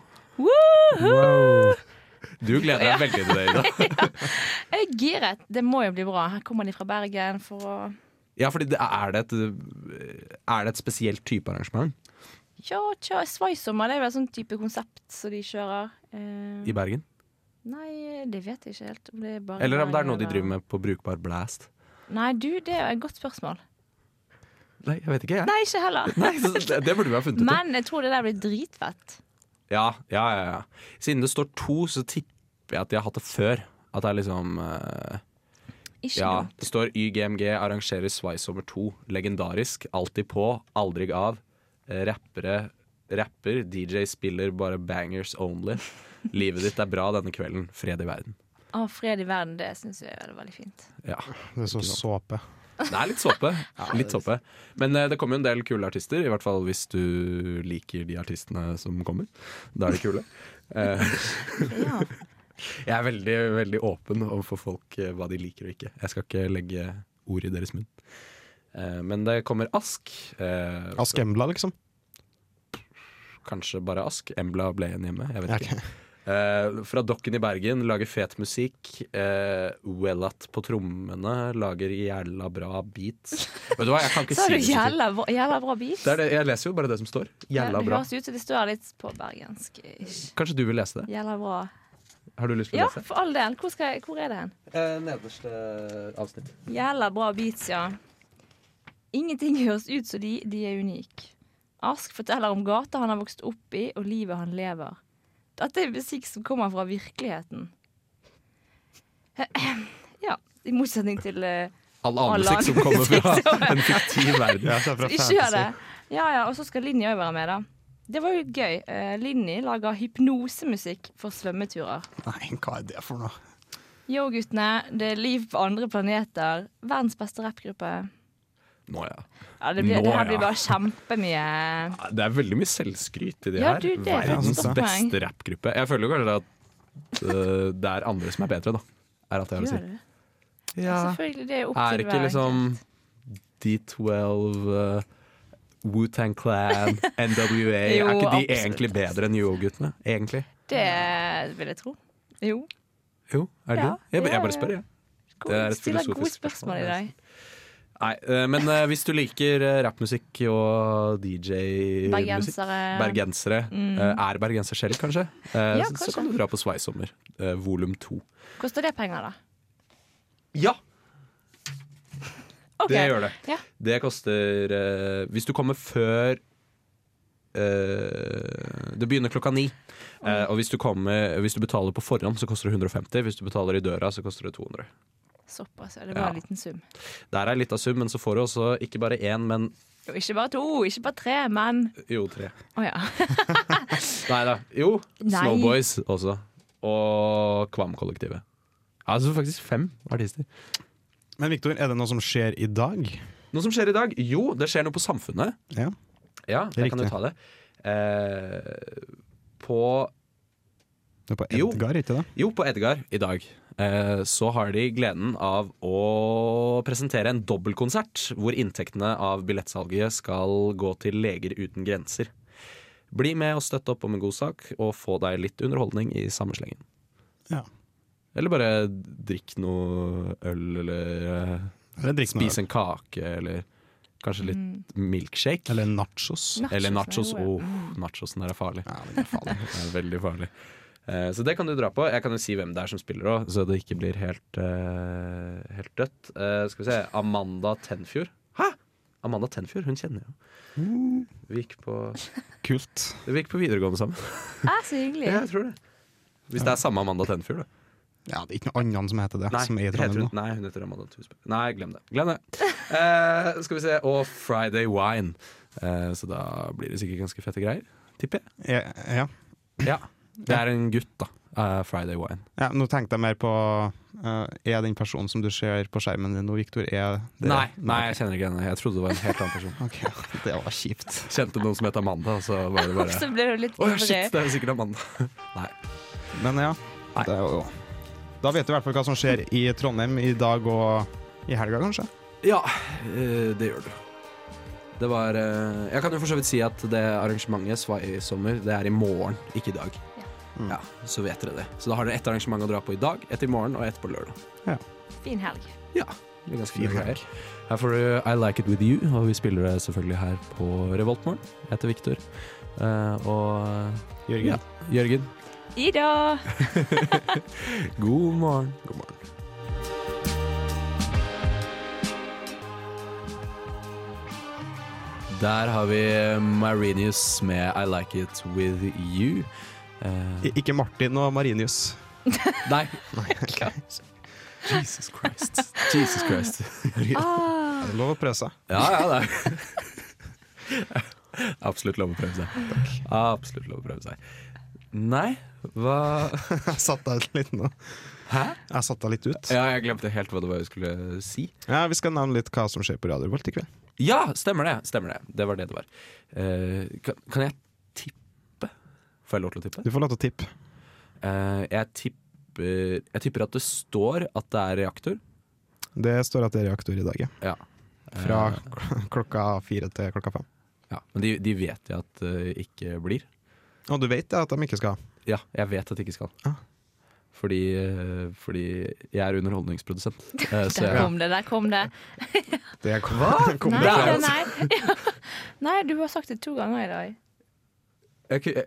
[SPEAKER 2] Du gleder deg veldig til det, Ida.
[SPEAKER 6] Jeg er giret. Det må jo bli bra. Her kommer de fra Bergen for å
[SPEAKER 2] Ja, fordi det, er, det et, er det et spesielt type arrangement
[SPEAKER 6] Ja, tja, Svaisommer det er vel sånn type konsept som de kjører. Eh,
[SPEAKER 2] i Bergen?
[SPEAKER 6] nei, det vet jeg ikke helt. Om det er bare
[SPEAKER 2] Eller om Mm. det er noe de driver med på brukbar blast?
[SPEAKER 6] Nei, du, det er et godt spørsmål.
[SPEAKER 2] Nei, jeg vet ikke, jeg.
[SPEAKER 6] Nei, ikke heller.
[SPEAKER 2] Nei, så det, det burde vi ha funnet ut. av.
[SPEAKER 6] Men jeg tror det der blir dritfett.
[SPEAKER 2] Ja, ja, ja, ja. Siden det står to, så tipper jeg at de har hatt det før. At det er liksom eh,
[SPEAKER 6] Ikke
[SPEAKER 2] Ja,
[SPEAKER 6] dumt.
[SPEAKER 2] det står YGMG arrangerer Svaisommer 2. Legendarisk, alltid på, aldri av. Eh, Rappere rapper, DJ spiller bare bangers only. Livet ditt er bra denne kvelden. Fred i verden.
[SPEAKER 6] Å, fred i verden, det syns jeg er veldig fint.
[SPEAKER 2] Ja.
[SPEAKER 7] Det er sånn såpe.
[SPEAKER 2] Det er litt såpe. Litt såpe. Men eh, det kommer jo en del kule artister, i hvert fall hvis du liker de artistene som kommer. Da er de kule. Eh,
[SPEAKER 6] Ja.
[SPEAKER 2] Jeg er veldig, veldig åpen overfor folk eh, hva de liker og ikke. Jeg skal ikke legge ord i deres munn. Eh, Men det kommer Ask. eh,
[SPEAKER 7] Askembla, liksom.
[SPEAKER 2] Kanskje bare Ask. Embla ble igjen hjemme. Jeg vet
[SPEAKER 7] Ja,
[SPEAKER 2] ikke. Eh, fra Dokken i Bergen lager fet musikk. Eh, Wellat på trommene lager jævla bra beats. Vet du hva, jeg kan ikke
[SPEAKER 6] Så
[SPEAKER 2] si
[SPEAKER 6] har
[SPEAKER 2] det. så
[SPEAKER 6] du
[SPEAKER 2] fint.
[SPEAKER 6] jævla, bra- jævla bra beats.
[SPEAKER 2] Det er det, jeg leser jo bare det som står. Jævla
[SPEAKER 6] det
[SPEAKER 2] bra.
[SPEAKER 6] høres ut som det står litt på bergensk. ish.
[SPEAKER 2] Kanskje du vil lese det?
[SPEAKER 6] Jævla bra.
[SPEAKER 2] Har du lyst til å
[SPEAKER 6] Ja,
[SPEAKER 2] lese?
[SPEAKER 6] for all del. Hvor, skal jeg, hvor er det hen?
[SPEAKER 2] Eh, nederste avsnitt.
[SPEAKER 6] Jævla bra beats, ja. Ingenting høres ut som de, de er unike. Ask forteller om gata han har vokst opp i, og livet han lever. Dette er musikk som kommer fra virkeligheten. Ja, i motsetning til eh,
[SPEAKER 2] All annen
[SPEAKER 6] All
[SPEAKER 2] musikk som
[SPEAKER 6] annen
[SPEAKER 2] kommer fra
[SPEAKER 6] musikk som-
[SPEAKER 2] en fiktiv verden.
[SPEAKER 7] Ja, så er det fra
[SPEAKER 6] Ikke gjør det.
[SPEAKER 7] fantasy.
[SPEAKER 6] Ja, ja, og så skal Linni òg være med, da. Det var jo gøy. Eh, Linni lager hypnosemusikk for svømmeturer.
[SPEAKER 7] Nei, hva er det for noe?
[SPEAKER 6] Yo, guttene. Det er liv på andre planeter. Verdens beste rappgruppe.
[SPEAKER 2] Nå, ja.
[SPEAKER 6] Ja, det, blir,
[SPEAKER 2] Nå,
[SPEAKER 6] det her blir
[SPEAKER 2] ja.
[SPEAKER 6] bare kjempemye
[SPEAKER 2] Ja, Det er veldig mye selvskryt i det
[SPEAKER 6] Ja,
[SPEAKER 2] her.
[SPEAKER 6] du, det er
[SPEAKER 7] et
[SPEAKER 2] Verdens
[SPEAKER 7] godt
[SPEAKER 6] poeng.
[SPEAKER 2] beste rappgruppe. Jeg føler jo kanskje at øh, det er andre som er bedre, da. Er alt jeg har å
[SPEAKER 6] Gjør
[SPEAKER 2] si.
[SPEAKER 6] det? Ja. Selvfølgelig. Det er jo opp
[SPEAKER 2] Er
[SPEAKER 6] til
[SPEAKER 2] ikke
[SPEAKER 6] hver
[SPEAKER 2] liksom
[SPEAKER 6] enkelt.
[SPEAKER 2] D12 uh, Wu-Tang Clan, NWA
[SPEAKER 6] Jo,
[SPEAKER 2] Er ikke de
[SPEAKER 6] absolutt.
[SPEAKER 2] egentlig bedre enn UO-guttene? Egentlig?
[SPEAKER 6] Det vil jeg tro. Jo.
[SPEAKER 2] Jo, er de det?
[SPEAKER 6] Ja,
[SPEAKER 2] Jeg,
[SPEAKER 6] ja,
[SPEAKER 2] jeg
[SPEAKER 6] ja.
[SPEAKER 2] bare spør, jeg.
[SPEAKER 6] Cool.
[SPEAKER 2] Det er et
[SPEAKER 6] Stiller
[SPEAKER 2] filosofisk
[SPEAKER 6] gode
[SPEAKER 2] spørsmål,
[SPEAKER 6] spørsmål i dag.
[SPEAKER 2] Nei, øh, men øh, hvis du liker øh, rappmusikk og DJ-musikk
[SPEAKER 6] Bergensere. Mm.
[SPEAKER 2] Bergensere. øh, er bergenser selv, kanskje? øh,
[SPEAKER 6] Ja,
[SPEAKER 2] så-
[SPEAKER 6] kanskje.
[SPEAKER 2] Så kan du dra på Sveisommer, uh, volum to.
[SPEAKER 6] Koster det penger, da?
[SPEAKER 2] Ja!
[SPEAKER 6] Ok.
[SPEAKER 2] Det gjør det.
[SPEAKER 6] Ja.
[SPEAKER 2] Det koster eh, Hvis du kommer før eh, Det begynner klokka ni. Eh, og hvis du, kommer, hvis du betaler på forhånd, så koster det 150. Hvis du betaler i døra, så koster det 200.
[SPEAKER 6] Såpass, ja. Det var
[SPEAKER 2] Ja.
[SPEAKER 6] en liten sum.
[SPEAKER 2] Der er litt av sum, men så får du også ikke bare én, men
[SPEAKER 6] Jo, ikke bare to, ikke bare tre, men
[SPEAKER 2] jo, tre.
[SPEAKER 6] Å ja.
[SPEAKER 2] Nei da. Jo,
[SPEAKER 6] Nei.
[SPEAKER 2] Snowboys også. Og Kvam-kollektivet. Altså faktisk fem artister.
[SPEAKER 7] Men Victor, er det noe som skjer i dag?
[SPEAKER 2] Noe som skjer i dag? Jo, det skjer noe på Samfunnet.
[SPEAKER 7] Ja.
[SPEAKER 2] Ja,
[SPEAKER 7] er
[SPEAKER 2] det kan du
[SPEAKER 7] riktig.
[SPEAKER 2] ta det. Eh, på
[SPEAKER 7] Det er på
[SPEAKER 2] Jo.
[SPEAKER 7] Edgar, ikke det?
[SPEAKER 2] Jo, på Edgar i dag. eh, så har de gleden av å presentere en dobbeltkonsert hvor inntektene av billettsalget skal gå til Leger uten grenser. Bli med og støtte opp om en god sak, og få deg litt underholdning i samme slengen.
[SPEAKER 7] Ja.
[SPEAKER 2] Eller bare drikk noe øl, eller eh,
[SPEAKER 7] Eller drikk noe
[SPEAKER 2] spis en kake, eller kanskje litt milkshake.
[SPEAKER 7] Eller nachos.
[SPEAKER 6] Nachos
[SPEAKER 2] Eller
[SPEAKER 6] er
[SPEAKER 2] nachos.
[SPEAKER 6] gode.
[SPEAKER 2] Åh, nachosen der er farlig.
[SPEAKER 7] Ja, den er farlig.
[SPEAKER 2] Det er veldig farlig. Eh, Så det kan du dra på. Jeg kan jo si hvem det er som spiller òg, så det ikke blir helt, eh, helt dødt. Eh, skal vi se. Amanda Tenfjord. Hæ?! Amanda Tenfjord, hun kjenner jeg jo. Vi gikk på,
[SPEAKER 7] Kult.
[SPEAKER 2] vi gikk på videregående sammen.
[SPEAKER 6] Er Ah, så hyggelig.
[SPEAKER 2] Ja, jeg tror det. Hvis det er samme Amanda Tenfjord, da.
[SPEAKER 7] Ja, det er ikke noe annet som heter det,
[SPEAKER 2] Nei,
[SPEAKER 7] som er i
[SPEAKER 2] heter
[SPEAKER 7] Trondheim
[SPEAKER 2] hun,
[SPEAKER 7] nå.
[SPEAKER 2] nei, hun heter Amanda Tusberg. Nei, glem det. Glem det. Eh, skal vi se. Og Friday Wine. Eh, så da blir det sikkert ganske fette greier. Tipper jeg.
[SPEAKER 7] Ja, ja.
[SPEAKER 2] Ja. Det er en gutt, da. Eh, Friday Wine.
[SPEAKER 7] ja, nå tenkte jeg mer på eh, Er den personen som du ser på skjermen din nå, Viktor, er det?
[SPEAKER 2] Nei, nei, jeg kjenner ikke henne. Jeg trodde det var en helt annen person.
[SPEAKER 7] Ok, det var kjipt.
[SPEAKER 2] Kjente noen som het Amanda, og så var det
[SPEAKER 6] Og
[SPEAKER 2] bare
[SPEAKER 6] så ble du litt
[SPEAKER 2] Å shit,
[SPEAKER 6] ivrig.
[SPEAKER 2] det er jo sikkert Amanda. Nei.
[SPEAKER 7] Men ja,
[SPEAKER 2] Nei.
[SPEAKER 7] det er jo Da vet du i hvert fall hva som skjer i Trondheim i dag og i helga, kanskje.
[SPEAKER 2] Ja, eh, det gjør du. Det var eh, Jeg kan jo for så vidt si at det arrangementet Svai i sommer, det er i morgen, ikke i dag.
[SPEAKER 6] Ja.
[SPEAKER 7] Mm.
[SPEAKER 2] Ja, Så vet dere det. Så da har dere ett arrangement å dra på i dag, ett i morgen og ett på lørdag.
[SPEAKER 6] Fin helg.
[SPEAKER 2] Ja, det blir ganske
[SPEAKER 7] Fin
[SPEAKER 2] mye greier. Her får du I Like It With You, og vi spiller det selvfølgelig her på Revoltmorgen. Jeg heter Viktor. Eh, og
[SPEAKER 7] Jørgen.
[SPEAKER 2] Ja. Jørgen,
[SPEAKER 6] Ida!
[SPEAKER 2] god morgen. Der har vi Marinius med I Like It With You. Eh,
[SPEAKER 7] I- Ikke Martin og Marinius.
[SPEAKER 2] nei. Jesus Christ. Jesus Christ.
[SPEAKER 6] Ah,
[SPEAKER 7] Er det lov å prøve seg?
[SPEAKER 2] Ja, ja, det er Absolutt lov å prøve seg. Absolutt lov å prøve seg. Nei, hva
[SPEAKER 7] Jeg satt deg ut litt nå.
[SPEAKER 2] Hæ?
[SPEAKER 7] Jeg satt deg litt ut.
[SPEAKER 2] Ja, jeg glemte helt hva det var jeg skulle si.
[SPEAKER 7] Ja, Vi skal nevne litt hva som skjer på Radio Volt i kveld.
[SPEAKER 2] Ja, stemmer det. Stemmer det. Det var det det var. Eh, kan, kan jeg tippe? Får jeg lov til å tippe?
[SPEAKER 7] Du får lov til å tippe.
[SPEAKER 2] Eh, jeg tipper Jeg tipper at det står at det er reaktor.
[SPEAKER 7] Det står at det er reaktor i dag, ja.
[SPEAKER 2] Ja.
[SPEAKER 7] Fra
[SPEAKER 2] Eh,
[SPEAKER 7] klokka fire til klokka fem.
[SPEAKER 2] ja. Men de, de vet jeg at det ikke blir.
[SPEAKER 7] Og du vet ja, at de ikke skal ha.
[SPEAKER 2] Ja, jeg vet at det ikke skal.
[SPEAKER 7] Ah.
[SPEAKER 2] Fordi, eh, fordi jeg er underholdningsprodusent. Eh, så
[SPEAKER 6] der
[SPEAKER 2] jeg,
[SPEAKER 6] kom det, der kom det.
[SPEAKER 7] Det kom, Hva? Kom
[SPEAKER 6] Nei,
[SPEAKER 7] det fra-
[SPEAKER 6] ja, nei. Ja. nei, du har sagt det to ganger i dag.
[SPEAKER 2] jeg, ku- jeg,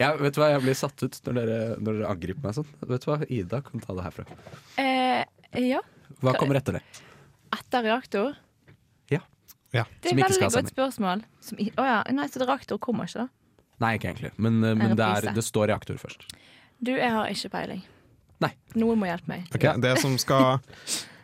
[SPEAKER 2] jeg, vet du hva, jeg blir satt ut når dere, når dere angriper meg sånn. Vet du hva, Ida kan ta det herfra.
[SPEAKER 6] Eh, ja.
[SPEAKER 2] Hva kommer etter det?
[SPEAKER 6] Etter reaktor.
[SPEAKER 2] Ja.
[SPEAKER 7] Ja.
[SPEAKER 6] Det
[SPEAKER 2] Som ikke skal
[SPEAKER 6] er et veldig
[SPEAKER 2] ha
[SPEAKER 6] godt spørsmål. Som, i- å ja. Nei, så reaktor kommer ikke, da.
[SPEAKER 2] Nei, ikke egentlig. Men, eh, men det, er,
[SPEAKER 6] reprise.
[SPEAKER 2] det står reaktor først.
[SPEAKER 6] Du, jeg har ikke peiling.
[SPEAKER 2] Nei.
[SPEAKER 6] Noen må hjelpe meg.
[SPEAKER 7] Ok, det som skal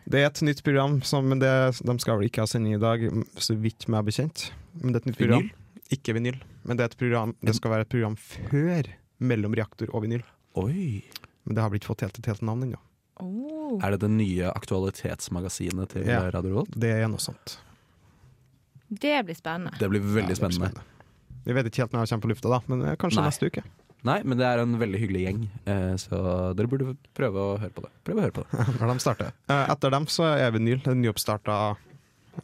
[SPEAKER 7] Det er et nytt program, som, men det, de skal vel ikke ha sending i dag, så vidt meg bekjent. Men det er et nytt program.
[SPEAKER 2] Vinyl?
[SPEAKER 7] Ikke vinyl, men det, er et program, det skal være et program før mellom reaktor og vinyl.
[SPEAKER 2] Oi!
[SPEAKER 7] Men det har blitt fått helt et helt navn ennå.
[SPEAKER 6] Oh.
[SPEAKER 2] Er det det nye aktualitetsmagasinet til
[SPEAKER 7] Ja.
[SPEAKER 2] eh, Radio Revolt?
[SPEAKER 7] Det er noe sånt.
[SPEAKER 6] Det blir spennende.
[SPEAKER 2] Det blir
[SPEAKER 7] Ja,
[SPEAKER 2] veldig
[SPEAKER 7] det blir
[SPEAKER 2] spennende.
[SPEAKER 7] Vi vet ikke helt når det kommer på lufta, da, men eh, kanskje
[SPEAKER 2] Nei.
[SPEAKER 7] neste uke.
[SPEAKER 2] Nei, men det er en veldig hyggelig gjeng, eh, så dere burde prøve å høre på det. Prøv å høre på det.
[SPEAKER 7] Når de starter. Eh, Etter dem så er vinyl. Det er nyoppstarta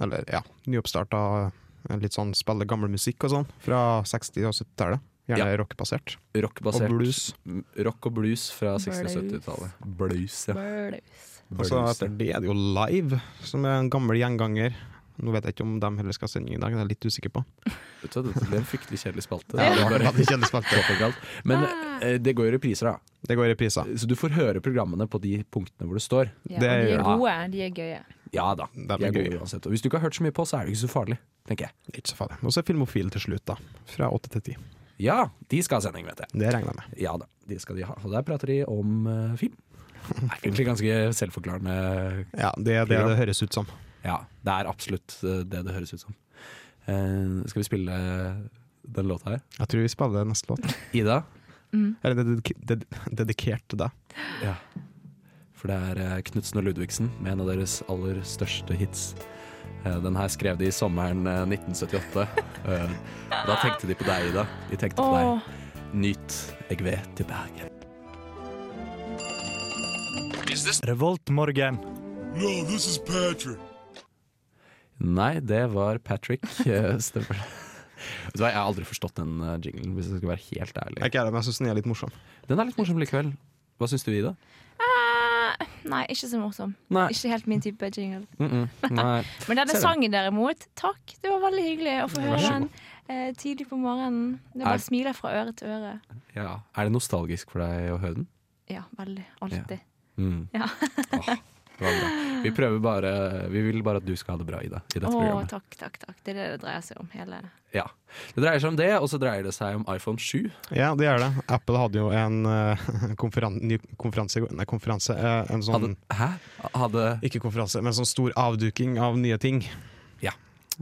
[SPEAKER 7] Eller ja, nyoppstarta eh, litt sånn spille gammel musikk og sånn fra 60- og 70-tallet. Gjerne rockbasert.
[SPEAKER 2] Rockbasert.
[SPEAKER 7] Og blues.
[SPEAKER 2] M- Rock og blues fra 60- og
[SPEAKER 6] Blues.
[SPEAKER 2] 70-tallet. Blues, ja.
[SPEAKER 6] Blues.
[SPEAKER 7] Og så
[SPEAKER 2] Blues,
[SPEAKER 7] etter
[SPEAKER 2] ja.
[SPEAKER 7] det er det jo Live, som er en gammel gjenganger. Nå vet jeg ikke om de heller skal ha sending i dag, det er jeg litt usikker på.
[SPEAKER 2] Vet du hva, Det ble en fryktelig kjedelig spalte.
[SPEAKER 7] Ja,
[SPEAKER 2] Det var
[SPEAKER 7] det
[SPEAKER 2] bare-
[SPEAKER 7] var litt kjedelig spalte.
[SPEAKER 2] det var galt. Men
[SPEAKER 6] Ah.
[SPEAKER 2] eh, det går jo repriser, da.
[SPEAKER 7] Det går i repriser.
[SPEAKER 2] Så du får høre programmene på de punktene hvor det står.
[SPEAKER 6] Ja,
[SPEAKER 7] Det
[SPEAKER 6] og de
[SPEAKER 7] gjør-
[SPEAKER 6] er gode. De er gøye.
[SPEAKER 2] Ja da.
[SPEAKER 7] Det
[SPEAKER 2] De
[SPEAKER 7] blir
[SPEAKER 2] er gode
[SPEAKER 7] gøy.
[SPEAKER 2] uansett. Og hvis du ikke har hørt så mye på, så er det ikke så farlig, tenker jeg.
[SPEAKER 7] Det er Ikke så farlig. Og så er Filmofil til slutt, da. Fra åtte til ti.
[SPEAKER 2] Ja, de skal ha sending, vet jeg.
[SPEAKER 7] Det regner jeg med.
[SPEAKER 2] Ja da, de skal de ha. Og der prater de om eh, film. Det er egentlig ganske selvforklarende
[SPEAKER 7] Ja, Det er det
[SPEAKER 2] Program.
[SPEAKER 7] det høres ut som.
[SPEAKER 2] Ja, det er absolutt eh, det det høres ut som. Eh, skal vi spille den låta her?
[SPEAKER 7] Jeg tror vi spiller neste låt.
[SPEAKER 2] Ida?
[SPEAKER 7] Eller det er dedike- ded dedikert til deg.
[SPEAKER 2] Ja. For det er eh, Knutsen og Ludvigsen med en av deres aller største hits. Eh, den her skrev de i sommeren eh, 1978. Eh, da tenkte de på deg, Ida. De tenkte på
[SPEAKER 6] Åh,
[SPEAKER 2] deg. Nyt, jeg vet, til Bergen.
[SPEAKER 1] Revoltmorgen.
[SPEAKER 2] Nei, det var Patrick. eh, Stemmer det. Vet du hva, Jeg har aldri forstått den eh, jinglen, hvis jeg skal være helt
[SPEAKER 7] Jeg er
[SPEAKER 2] ærlig.
[SPEAKER 7] ikke ærlig, men jeg syns den er litt morsom.
[SPEAKER 2] Den er litt morsom likevel. Hva syns du, Ida?
[SPEAKER 6] Eh, Nei, ikke så morsom.
[SPEAKER 2] Nei.
[SPEAKER 6] Ikke helt min type jingle.
[SPEAKER 2] Mm -mm. Nei.
[SPEAKER 6] Men denne
[SPEAKER 2] Ser du.
[SPEAKER 6] sangen derimot, takk. Det var veldig hyggelig å få
[SPEAKER 2] Vær
[SPEAKER 6] høre
[SPEAKER 2] så
[SPEAKER 6] den eh, tidlig på morgenen. Det
[SPEAKER 2] Er-
[SPEAKER 6] bare smiler fra øre til øre.
[SPEAKER 2] Ja. Er det nostalgisk for deg å høre den?
[SPEAKER 6] Ja, veldig. Alltid.
[SPEAKER 2] Mm.
[SPEAKER 6] Ja.
[SPEAKER 2] Åh, det var bra. Vi prøver bare Vi vil bare at du skal ha det bra, Ida, i dette
[SPEAKER 6] Å,
[SPEAKER 2] programmet.
[SPEAKER 6] takk, takk, takk. Det er det det dreier seg om. Hele.
[SPEAKER 2] Ja. Det dreier seg om det, og så dreier det seg om iPhone 7.
[SPEAKER 7] Ja, det gjør det. Apple hadde jo en eh, konferan ny konferanse i går- Nei, konferanse. eh, en
[SPEAKER 2] Hadde,
[SPEAKER 7] sånn
[SPEAKER 2] hæ? Hadde
[SPEAKER 7] Ikke konferanse, men sånn stor avduking av nye ting.
[SPEAKER 2] Ja.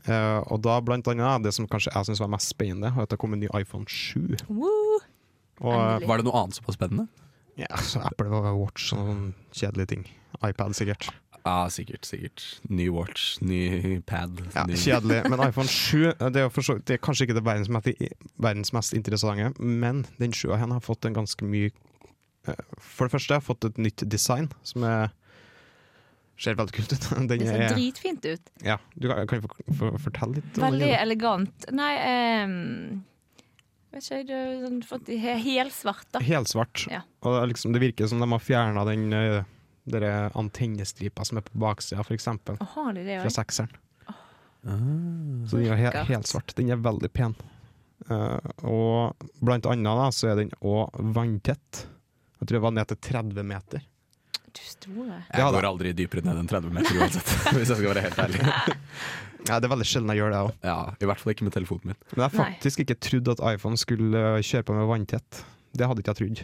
[SPEAKER 7] Eh, og da blant annet det som kanskje jeg syns var mest spennende, var at det kom en ny iPhone 7.
[SPEAKER 6] Woo!
[SPEAKER 7] Og eh,
[SPEAKER 2] Var det noe annet som var spennende?
[SPEAKER 7] ja, så Apple var Watch og sånn kjedelige ting. iPad sikkert.
[SPEAKER 2] Ja, sikkert. sikkert Ny watch, ny pad.
[SPEAKER 7] Ja,
[SPEAKER 2] ny...
[SPEAKER 7] kjedelig. Men iPhone 7 eh, det er, jo for så, det er kanskje ikke det verdens mest, verdens mest interessante, men den 7 her har fått en ganske mye eh, For det første har jeg fått et nytt design som er, ser veldig kult ut. Den
[SPEAKER 6] Det ser
[SPEAKER 7] er,
[SPEAKER 6] dritfint ut.
[SPEAKER 7] ja, du kan, kan jeg få, få fortelle litt? om den?
[SPEAKER 6] Veldig elegant. Nei, ehm, vet ikke, du har sånn fått i he helsvart, da.
[SPEAKER 7] Helsvart.
[SPEAKER 6] Ja.
[SPEAKER 7] Og det, er liksom, det virker som de har fjerna den eh, dere antennestripa som er på baksida, f.eks.
[SPEAKER 6] Å, har de det
[SPEAKER 7] Fra
[SPEAKER 6] òg?
[SPEAKER 7] sekseren.
[SPEAKER 2] Ah.
[SPEAKER 7] Så den er he
[SPEAKER 6] Akkurat.
[SPEAKER 7] helsvart. Den er veldig pen. Eh, og blant annet da, så er den òg vanntett. Jeg tror det var ned til 30 meter.
[SPEAKER 6] Du store.
[SPEAKER 2] Jeg
[SPEAKER 7] Ja, da.
[SPEAKER 2] går aldri dypere ned enn 30 meter uansett, hvis jeg skal være helt ærlig.
[SPEAKER 7] Ja, det er veldig sjelden jeg gjør det òg.
[SPEAKER 2] Ja, I hvert fall ikke med telefonen min.
[SPEAKER 7] Men jeg har
[SPEAKER 6] Nei.
[SPEAKER 7] faktisk ikke trodd at iPhone skulle eh, kjøre på med vanntett. Det hadde ikke jeg trodd.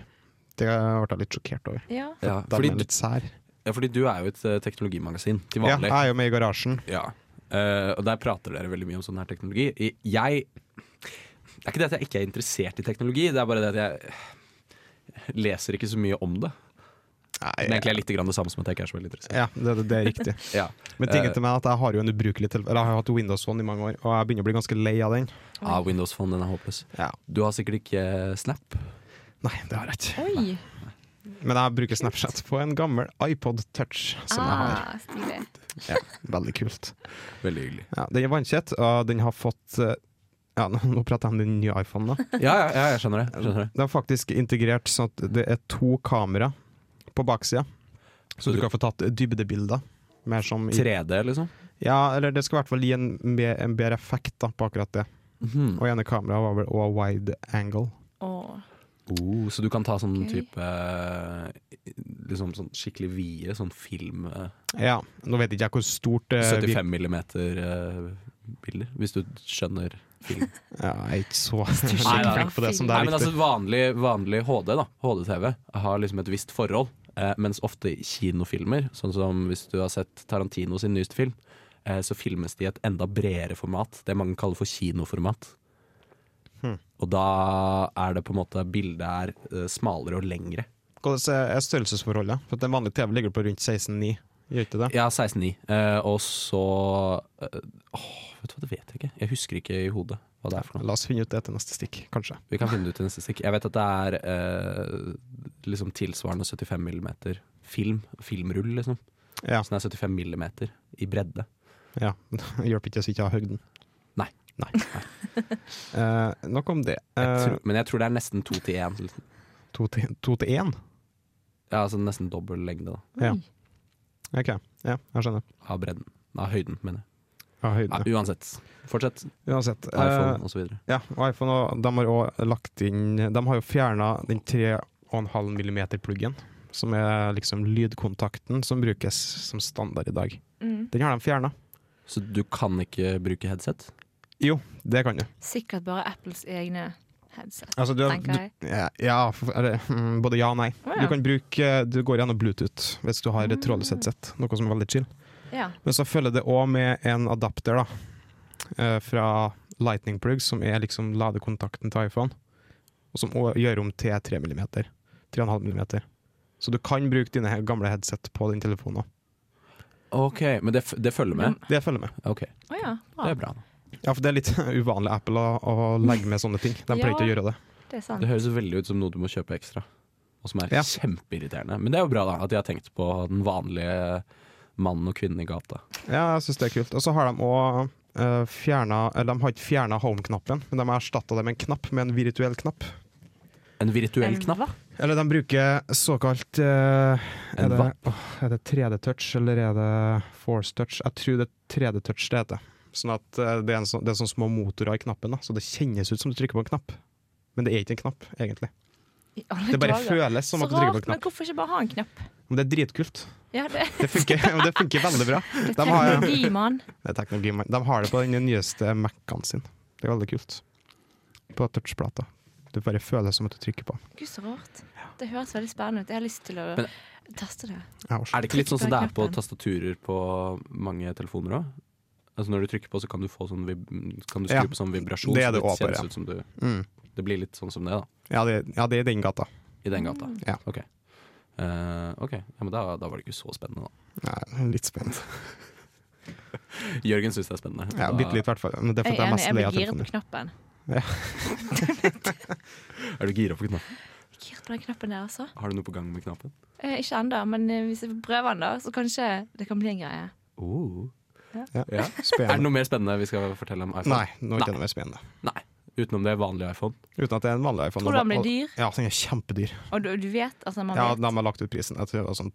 [SPEAKER 7] Det ble jeg litt sjokkert over.
[SPEAKER 6] Ja.
[SPEAKER 2] Ja,
[SPEAKER 7] Den
[SPEAKER 2] fordi,
[SPEAKER 7] er
[SPEAKER 2] du,
[SPEAKER 7] litt sær.
[SPEAKER 2] ja, fordi du er jo et eh, teknologimagasin til
[SPEAKER 7] Ja,
[SPEAKER 2] vanlig.
[SPEAKER 7] jeg
[SPEAKER 2] Ja,
[SPEAKER 7] er jo med i garasjen.
[SPEAKER 2] Eh, og der prater dere veldig mye om sånn her teknologi. I- Jeg Det er ikke det at jeg ikke er interessert i teknologi, det er bare det at jeg leser ikke så mye om det.
[SPEAKER 7] Nei,
[SPEAKER 2] Som egentlig er litt grann det samme som at jeg ikke er så veldig interessert.
[SPEAKER 7] ja, det, det er riktig.
[SPEAKER 2] Ja.
[SPEAKER 7] Men
[SPEAKER 2] Eh.
[SPEAKER 7] tingen til meg er at jeg har jo en ubrukelig telefon Eller jeg har hatt Windows Phone i mange år, og jeg begynner å bli ganske lei av den.
[SPEAKER 2] Ah, Windows Phone, den er håpløs. Du har sikkert ikke eh, Snap.
[SPEAKER 7] Nei, det har jeg ikke.
[SPEAKER 6] Oi.
[SPEAKER 7] Men jeg bruker Snapchat på en gammel iPod Touch som jeg har.
[SPEAKER 6] Ah, stilig.
[SPEAKER 2] Ah.
[SPEAKER 7] Veldig kult.
[SPEAKER 2] Veldig hyggelig.
[SPEAKER 7] Ja, den er vannkjett, og den har fått eh, ja, nå- Nå prater jeg om den nye iPhonen. da.
[SPEAKER 2] Ja, ja, ja jeg skjønner det. jeg Skjønner det.
[SPEAKER 7] Den er faktisk integrert sånn at det er to kamera på baksida, så du kan få tatt dybdebilder. Mer som i,
[SPEAKER 2] 3D, liksom.
[SPEAKER 7] ja, eller det skal i hvert fall gi en, be- en bedre effekt da, på akkurat det.
[SPEAKER 2] Mhm.
[SPEAKER 7] Og ene kameraet var vel også wide angle.
[SPEAKER 6] Å,
[SPEAKER 2] Oh, så du kan ta sånn
[SPEAKER 6] Gøy.
[SPEAKER 2] type eh, Liksom sånn skikkelig vide, sånn film eh,
[SPEAKER 7] Ja, Nå vet ikke jeg hvor stort eh, vi-
[SPEAKER 2] 75 millimeter eh, bilder, hvis du skjønner film.
[SPEAKER 7] Ja, jeg er ikke så
[SPEAKER 2] Nei, nei,
[SPEAKER 7] flink på det som det
[SPEAKER 2] Nei,
[SPEAKER 7] er
[SPEAKER 2] men altså
[SPEAKER 7] viktig.
[SPEAKER 2] vanlig, vanlig HD, da. HD-TV har liksom et visst forhold. Eh, mens ofte i kinofilmer, sånn som hvis du har sett Tarantino sin nyeste film, eh, så filmes de i et enda bredere format. Det mange kaller for kinoformat.
[SPEAKER 7] Hm.
[SPEAKER 2] Og da er det på en måte Bildet er eh, smalere og lengre.
[SPEAKER 7] Hvordan er størrelsesforholdet? For at En vanlig TV ligger på rundt 16,9. Gjør ikke det?
[SPEAKER 2] Ja, 16,9. Eh, og så eh, Åh, vet du hva, det vet jeg ikke. Jeg husker ikke i hodet hva det er for noe.
[SPEAKER 7] La oss finne ut det til neste stikk, kanskje.
[SPEAKER 2] Vi kan finne det ut i neste stikk. Jeg vet at det er eh, liksom tilsvarende 75 millimeter film. Filmrull, liksom.
[SPEAKER 7] Ja,
[SPEAKER 2] Så den er 75 millimeter i bredde.
[SPEAKER 7] ja. Hjelper ikke hvis vi ikke har høgden.
[SPEAKER 2] Nei.
[SPEAKER 7] Nei. Eh, nok om det.
[SPEAKER 2] Jeg
[SPEAKER 7] Eh,
[SPEAKER 2] tror, men jeg tror det er nesten to til én. liksom.
[SPEAKER 7] To til to til én?
[SPEAKER 2] Ja, altså nesten dobbel lengde da,
[SPEAKER 7] Ja.
[SPEAKER 6] Oi.
[SPEAKER 7] OK. Ja, jeg skjønner.
[SPEAKER 2] av bredden. Av høyden, mener jeg.
[SPEAKER 7] Ja,
[SPEAKER 2] Ja,
[SPEAKER 7] høyden.
[SPEAKER 2] uansett. Fortsett.
[SPEAKER 7] Uansett. eh,
[SPEAKER 2] iPhone og så videre
[SPEAKER 7] ja, og iPhone og de har også lagt inn De har jo fjerna den 3,5 mm-pluggen, som er liksom lydkontakten som brukes som standard i dag.
[SPEAKER 6] Mm.
[SPEAKER 7] Den har de fjerna.
[SPEAKER 2] Så du kan ikke bruke headset?
[SPEAKER 7] Jo, det kan du.
[SPEAKER 6] Sikkert bare Apples egne headset.
[SPEAKER 7] Altså, du,
[SPEAKER 6] Tenker jeg.
[SPEAKER 7] du, ja, ja, for- eller, mm, både ja og nei.
[SPEAKER 6] Å, ja. Ah.
[SPEAKER 7] Du kan bruke Du går gjennom Bluetooth hvis du har et trådløst headset, noe som er veldig chill.
[SPEAKER 6] Ja.
[SPEAKER 7] Men så følger det òg med en adapter da eh, fra Lightning Plug, som er liksom ladekontakten til iPhone, og som også gjør om til 3 mm. 3,5 mm. Så du kan bruke dine he- gamle headset på din telefon òg.
[SPEAKER 2] OK, men det, f- det følger med?
[SPEAKER 7] Det følger med.
[SPEAKER 2] Ok,
[SPEAKER 6] Å ja,
[SPEAKER 2] Det
[SPEAKER 6] bra.
[SPEAKER 2] er bra. da.
[SPEAKER 7] Ja, for det er litt uvanlig Apple å, å legge med sånne ting. De pleier ikke å
[SPEAKER 6] Ja.
[SPEAKER 7] gjøre det.
[SPEAKER 6] Det er sant.
[SPEAKER 2] Det høres veldig ut som noe du må kjøpe ekstra. og som er
[SPEAKER 7] Ja.
[SPEAKER 2] kjempeirriterende. Men det er jo bra da, at de har tenkt på den vanlige mannen og kvinnen i gata.
[SPEAKER 7] Ja, jeg syns det er kult. Og så har de òg fjerna Eller de har ikke fjerna home-knappen, men de har erstatta det med en knapp, med en virtuell knapp.
[SPEAKER 2] En virtuell knapp.
[SPEAKER 6] Hva?
[SPEAKER 7] Eller de bruker såkalt eh,
[SPEAKER 2] En
[SPEAKER 7] er, det,
[SPEAKER 2] vapp.
[SPEAKER 7] åh, er det 3D-touch, eller er det force-touch? Jeg tror det er 3D-touch det heter. Sånn at eh, det er, en sånn, det er sånn små motorer i knappen, da, så det kjennes ut som du trykker på en knapp. Men det er ikke en knapp, egentlig.
[SPEAKER 6] I alle
[SPEAKER 7] Det bare
[SPEAKER 6] dager.
[SPEAKER 7] føles som
[SPEAKER 6] Så
[SPEAKER 7] at du trykker på
[SPEAKER 6] rart,
[SPEAKER 7] en
[SPEAKER 6] men
[SPEAKER 7] knapp.
[SPEAKER 6] hvorfor ikke bare ha en knapp?
[SPEAKER 7] Men det er dritkult.
[SPEAKER 6] Ja, det
[SPEAKER 7] Det funker, det funker veldig bra.
[SPEAKER 6] det er
[SPEAKER 7] De har,
[SPEAKER 6] teknologi, mann.
[SPEAKER 7] det er teknologi, men de har det på den nyeste Mac-en sin. Det er veldig kult. På touchplata. Du bare føler som at du trykker på.
[SPEAKER 6] Gud, så rart. Det høres veldig spennende ut. Jeg har lyst til å
[SPEAKER 2] Men-
[SPEAKER 6] teste det.
[SPEAKER 7] Jeg også.
[SPEAKER 2] Er det ikke litt sånn som det er
[SPEAKER 6] Trykker
[SPEAKER 2] på
[SPEAKER 6] knappen.
[SPEAKER 2] tastaturer på mange telefoner òg? Altså når du trykker på, så kan du, få sånn vib kan du skru
[SPEAKER 7] Ja.
[SPEAKER 2] på sånn vibrasjon.
[SPEAKER 7] Det
[SPEAKER 2] så
[SPEAKER 7] er det også,
[SPEAKER 2] kjennes
[SPEAKER 7] ja.
[SPEAKER 2] ut som du,
[SPEAKER 7] Mm.
[SPEAKER 2] det blir litt sånn som det, da.
[SPEAKER 7] Ja, det, ja, det er i den gata.
[SPEAKER 2] I den gata.
[SPEAKER 7] Mm. Ja.
[SPEAKER 2] Ok. Eh, ok. Ja, men da, da var det ikke så spennende, da.
[SPEAKER 7] Ja, litt spennende.
[SPEAKER 2] Jørgen syns det er spennende.
[SPEAKER 7] Ja,
[SPEAKER 2] Da-
[SPEAKER 7] bitte litt i hvert fall. Men det er
[SPEAKER 6] Jeg
[SPEAKER 7] fordi
[SPEAKER 6] er
[SPEAKER 7] jeg er
[SPEAKER 6] enig,
[SPEAKER 7] mest
[SPEAKER 6] jeg
[SPEAKER 7] lei
[SPEAKER 6] blir
[SPEAKER 7] av
[SPEAKER 6] giret på
[SPEAKER 7] telefoner.
[SPEAKER 6] knappen.
[SPEAKER 2] Er du gira på knappen?
[SPEAKER 6] Giret på den knappen der, altså.
[SPEAKER 2] Har du noe på gang med knappen?
[SPEAKER 6] Eh, ikke ennå, men eh, hvis jeg får prøve den, da, så kanskje det kan bli en greie.
[SPEAKER 2] Oh.
[SPEAKER 7] Ja.
[SPEAKER 2] Ja. Er det
[SPEAKER 7] Spennende.
[SPEAKER 2] noe mer spennende vi skal fortelle om iPhone?
[SPEAKER 7] Nei, nå er ikke det noe mer spennende.
[SPEAKER 2] Nei. Utenom det vanlige iPhone.
[SPEAKER 7] Uten at det er en vanlig iPhone.
[SPEAKER 6] Tror du den blir dyr?
[SPEAKER 7] Ja, den er kjempedyr.
[SPEAKER 6] Og du, du vet, altså man
[SPEAKER 7] Ja,
[SPEAKER 6] vet.
[SPEAKER 7] De har lagt ut prisen. Jeg tror det var sånn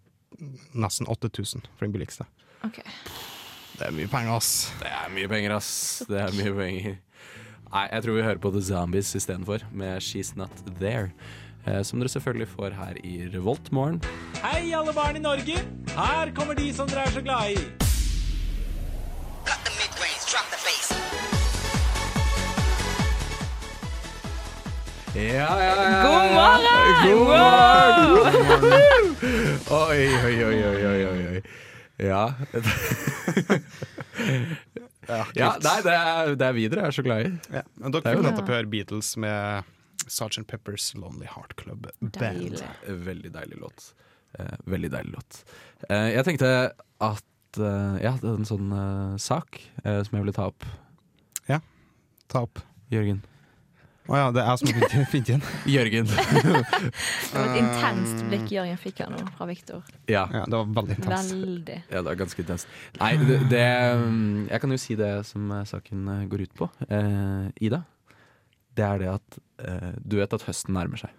[SPEAKER 7] nesten 8000 for den billigste.
[SPEAKER 6] Ok.
[SPEAKER 7] Det er mye penger, ass.
[SPEAKER 2] Det er mye penger, ass. Det er mye penger. Nei, jeg tror vi hører på The Zombies istedenfor, med She's Not There. eh, Som dere selvfølgelig får her i Revolt morgen.
[SPEAKER 5] Hei, alle barn i Norge! Her kommer de som dere er så glad i.
[SPEAKER 9] Cut the mid-range, drop the bass.
[SPEAKER 2] Ja, ja, ja.
[SPEAKER 6] God morgen!
[SPEAKER 2] God
[SPEAKER 6] Wow!
[SPEAKER 2] morgen! Oi, oi, oi, oi, oi, oi, oi. Ja. ja nei, det er, det er vi dere er så glad i.
[SPEAKER 7] Ja. Men dere
[SPEAKER 2] er jo
[SPEAKER 7] fikk
[SPEAKER 2] det.
[SPEAKER 7] nettopp høre Beatles med Sgt. Peppers Lonely Heart Club Band.
[SPEAKER 6] Deilig.
[SPEAKER 2] Veldig deilig låt. Eh, veldig deilig låt. Eh, jeg tenkte at eh, Jeg hadde en sånn eh, sak eh, som jeg ville ta opp.
[SPEAKER 7] Ta opp.
[SPEAKER 2] Jørgen.
[SPEAKER 7] Å ja, det er jeg som har funnet- funnet igjen.
[SPEAKER 2] Jørgen.
[SPEAKER 6] Det var et intenst blikk Jørgen fikk her nå fra Viktor.
[SPEAKER 2] ja.
[SPEAKER 7] Ja, det var veldig intenst.
[SPEAKER 6] Veldig.
[SPEAKER 2] ja, det er ganske intenst. Nei, det, det mm, Jeg kan jo si det som eh, saken eh, går ut på. Eh, Ida. Det er det at eh, Du vet at høsten nærmer seg.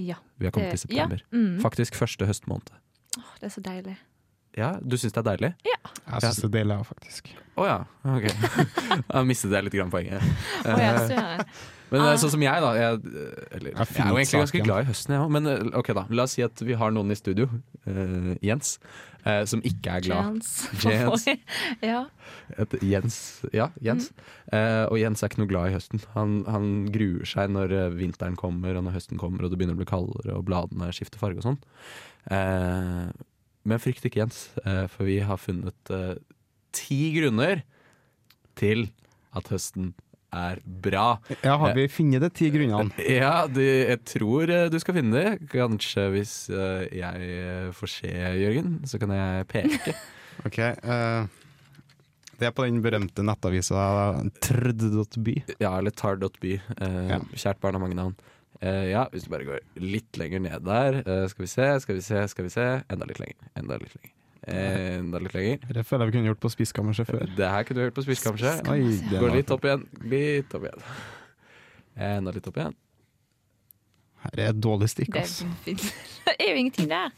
[SPEAKER 6] Ja.
[SPEAKER 2] Vi har kommet til
[SPEAKER 6] ja.
[SPEAKER 2] september.
[SPEAKER 6] Mm.
[SPEAKER 2] Faktisk første høstmåned.
[SPEAKER 6] Åh, det er så deilig.
[SPEAKER 2] Ja, du syns det er deilig?
[SPEAKER 7] Jeg syns det er deilig, jeg, faktisk.
[SPEAKER 2] Å ja, ok. Da mistet jeg litt grann poenget.
[SPEAKER 6] Å, ja, så er
[SPEAKER 7] Eh,
[SPEAKER 6] det.
[SPEAKER 2] Men det er sånn som jeg, da. Jeg, eh, eller,
[SPEAKER 7] Jeg
[SPEAKER 2] jeg,
[SPEAKER 7] finner
[SPEAKER 2] er jo egentlig ganske
[SPEAKER 7] saken.
[SPEAKER 2] glad i høsten, jeg òg. Men eh, ok, da. La oss si at vi har noen i studio, eh, Jens, eh, som ikke er glad.
[SPEAKER 6] Jans.
[SPEAKER 2] Jans.
[SPEAKER 6] ja.
[SPEAKER 2] Et, Jens, ja, Jens. Eh, og Jens er ikke noe glad i høsten. Han, han gruer seg når eh, vinteren kommer, og når høsten kommer og det begynner å bli kaldere og bladene skifter farge og sånn. Eh, men frykt ikke, Jens, eh, for vi har funnet eh, ti grunner til at høsten er bra.
[SPEAKER 7] Ja, har vi funnet de ti grunnene?
[SPEAKER 2] Ja, du, jeg tror eh, du skal finne det. Kanskje hvis eh, jeg eh, får se Jørgen, så kan jeg peke.
[SPEAKER 7] Ok, eh, Det er på den berømte nettavisa trd.by.
[SPEAKER 2] Ja, eller tar.by. Eh,
[SPEAKER 7] Ja.
[SPEAKER 2] Kjært barn har mange navn. Eh, ja, hvis du bare går litt lenger ned der. eh, skal vi se, skal vi se, skal vi se. Enda litt lenger. Enda litt lenger. Enda litt lenger.
[SPEAKER 7] Det føler jeg vi kunne gjort på Spiskammerset før.
[SPEAKER 2] Det her kunne du hørt på Spiss, kanskje.
[SPEAKER 7] Oi, det
[SPEAKER 2] Går
[SPEAKER 7] var-
[SPEAKER 2] litt opp igjen. Litt opp igjen. Enda litt opp igjen.
[SPEAKER 7] Her er dårlig stikk,
[SPEAKER 6] Det
[SPEAKER 7] ass.
[SPEAKER 6] er fint. Det er jo ingenting der.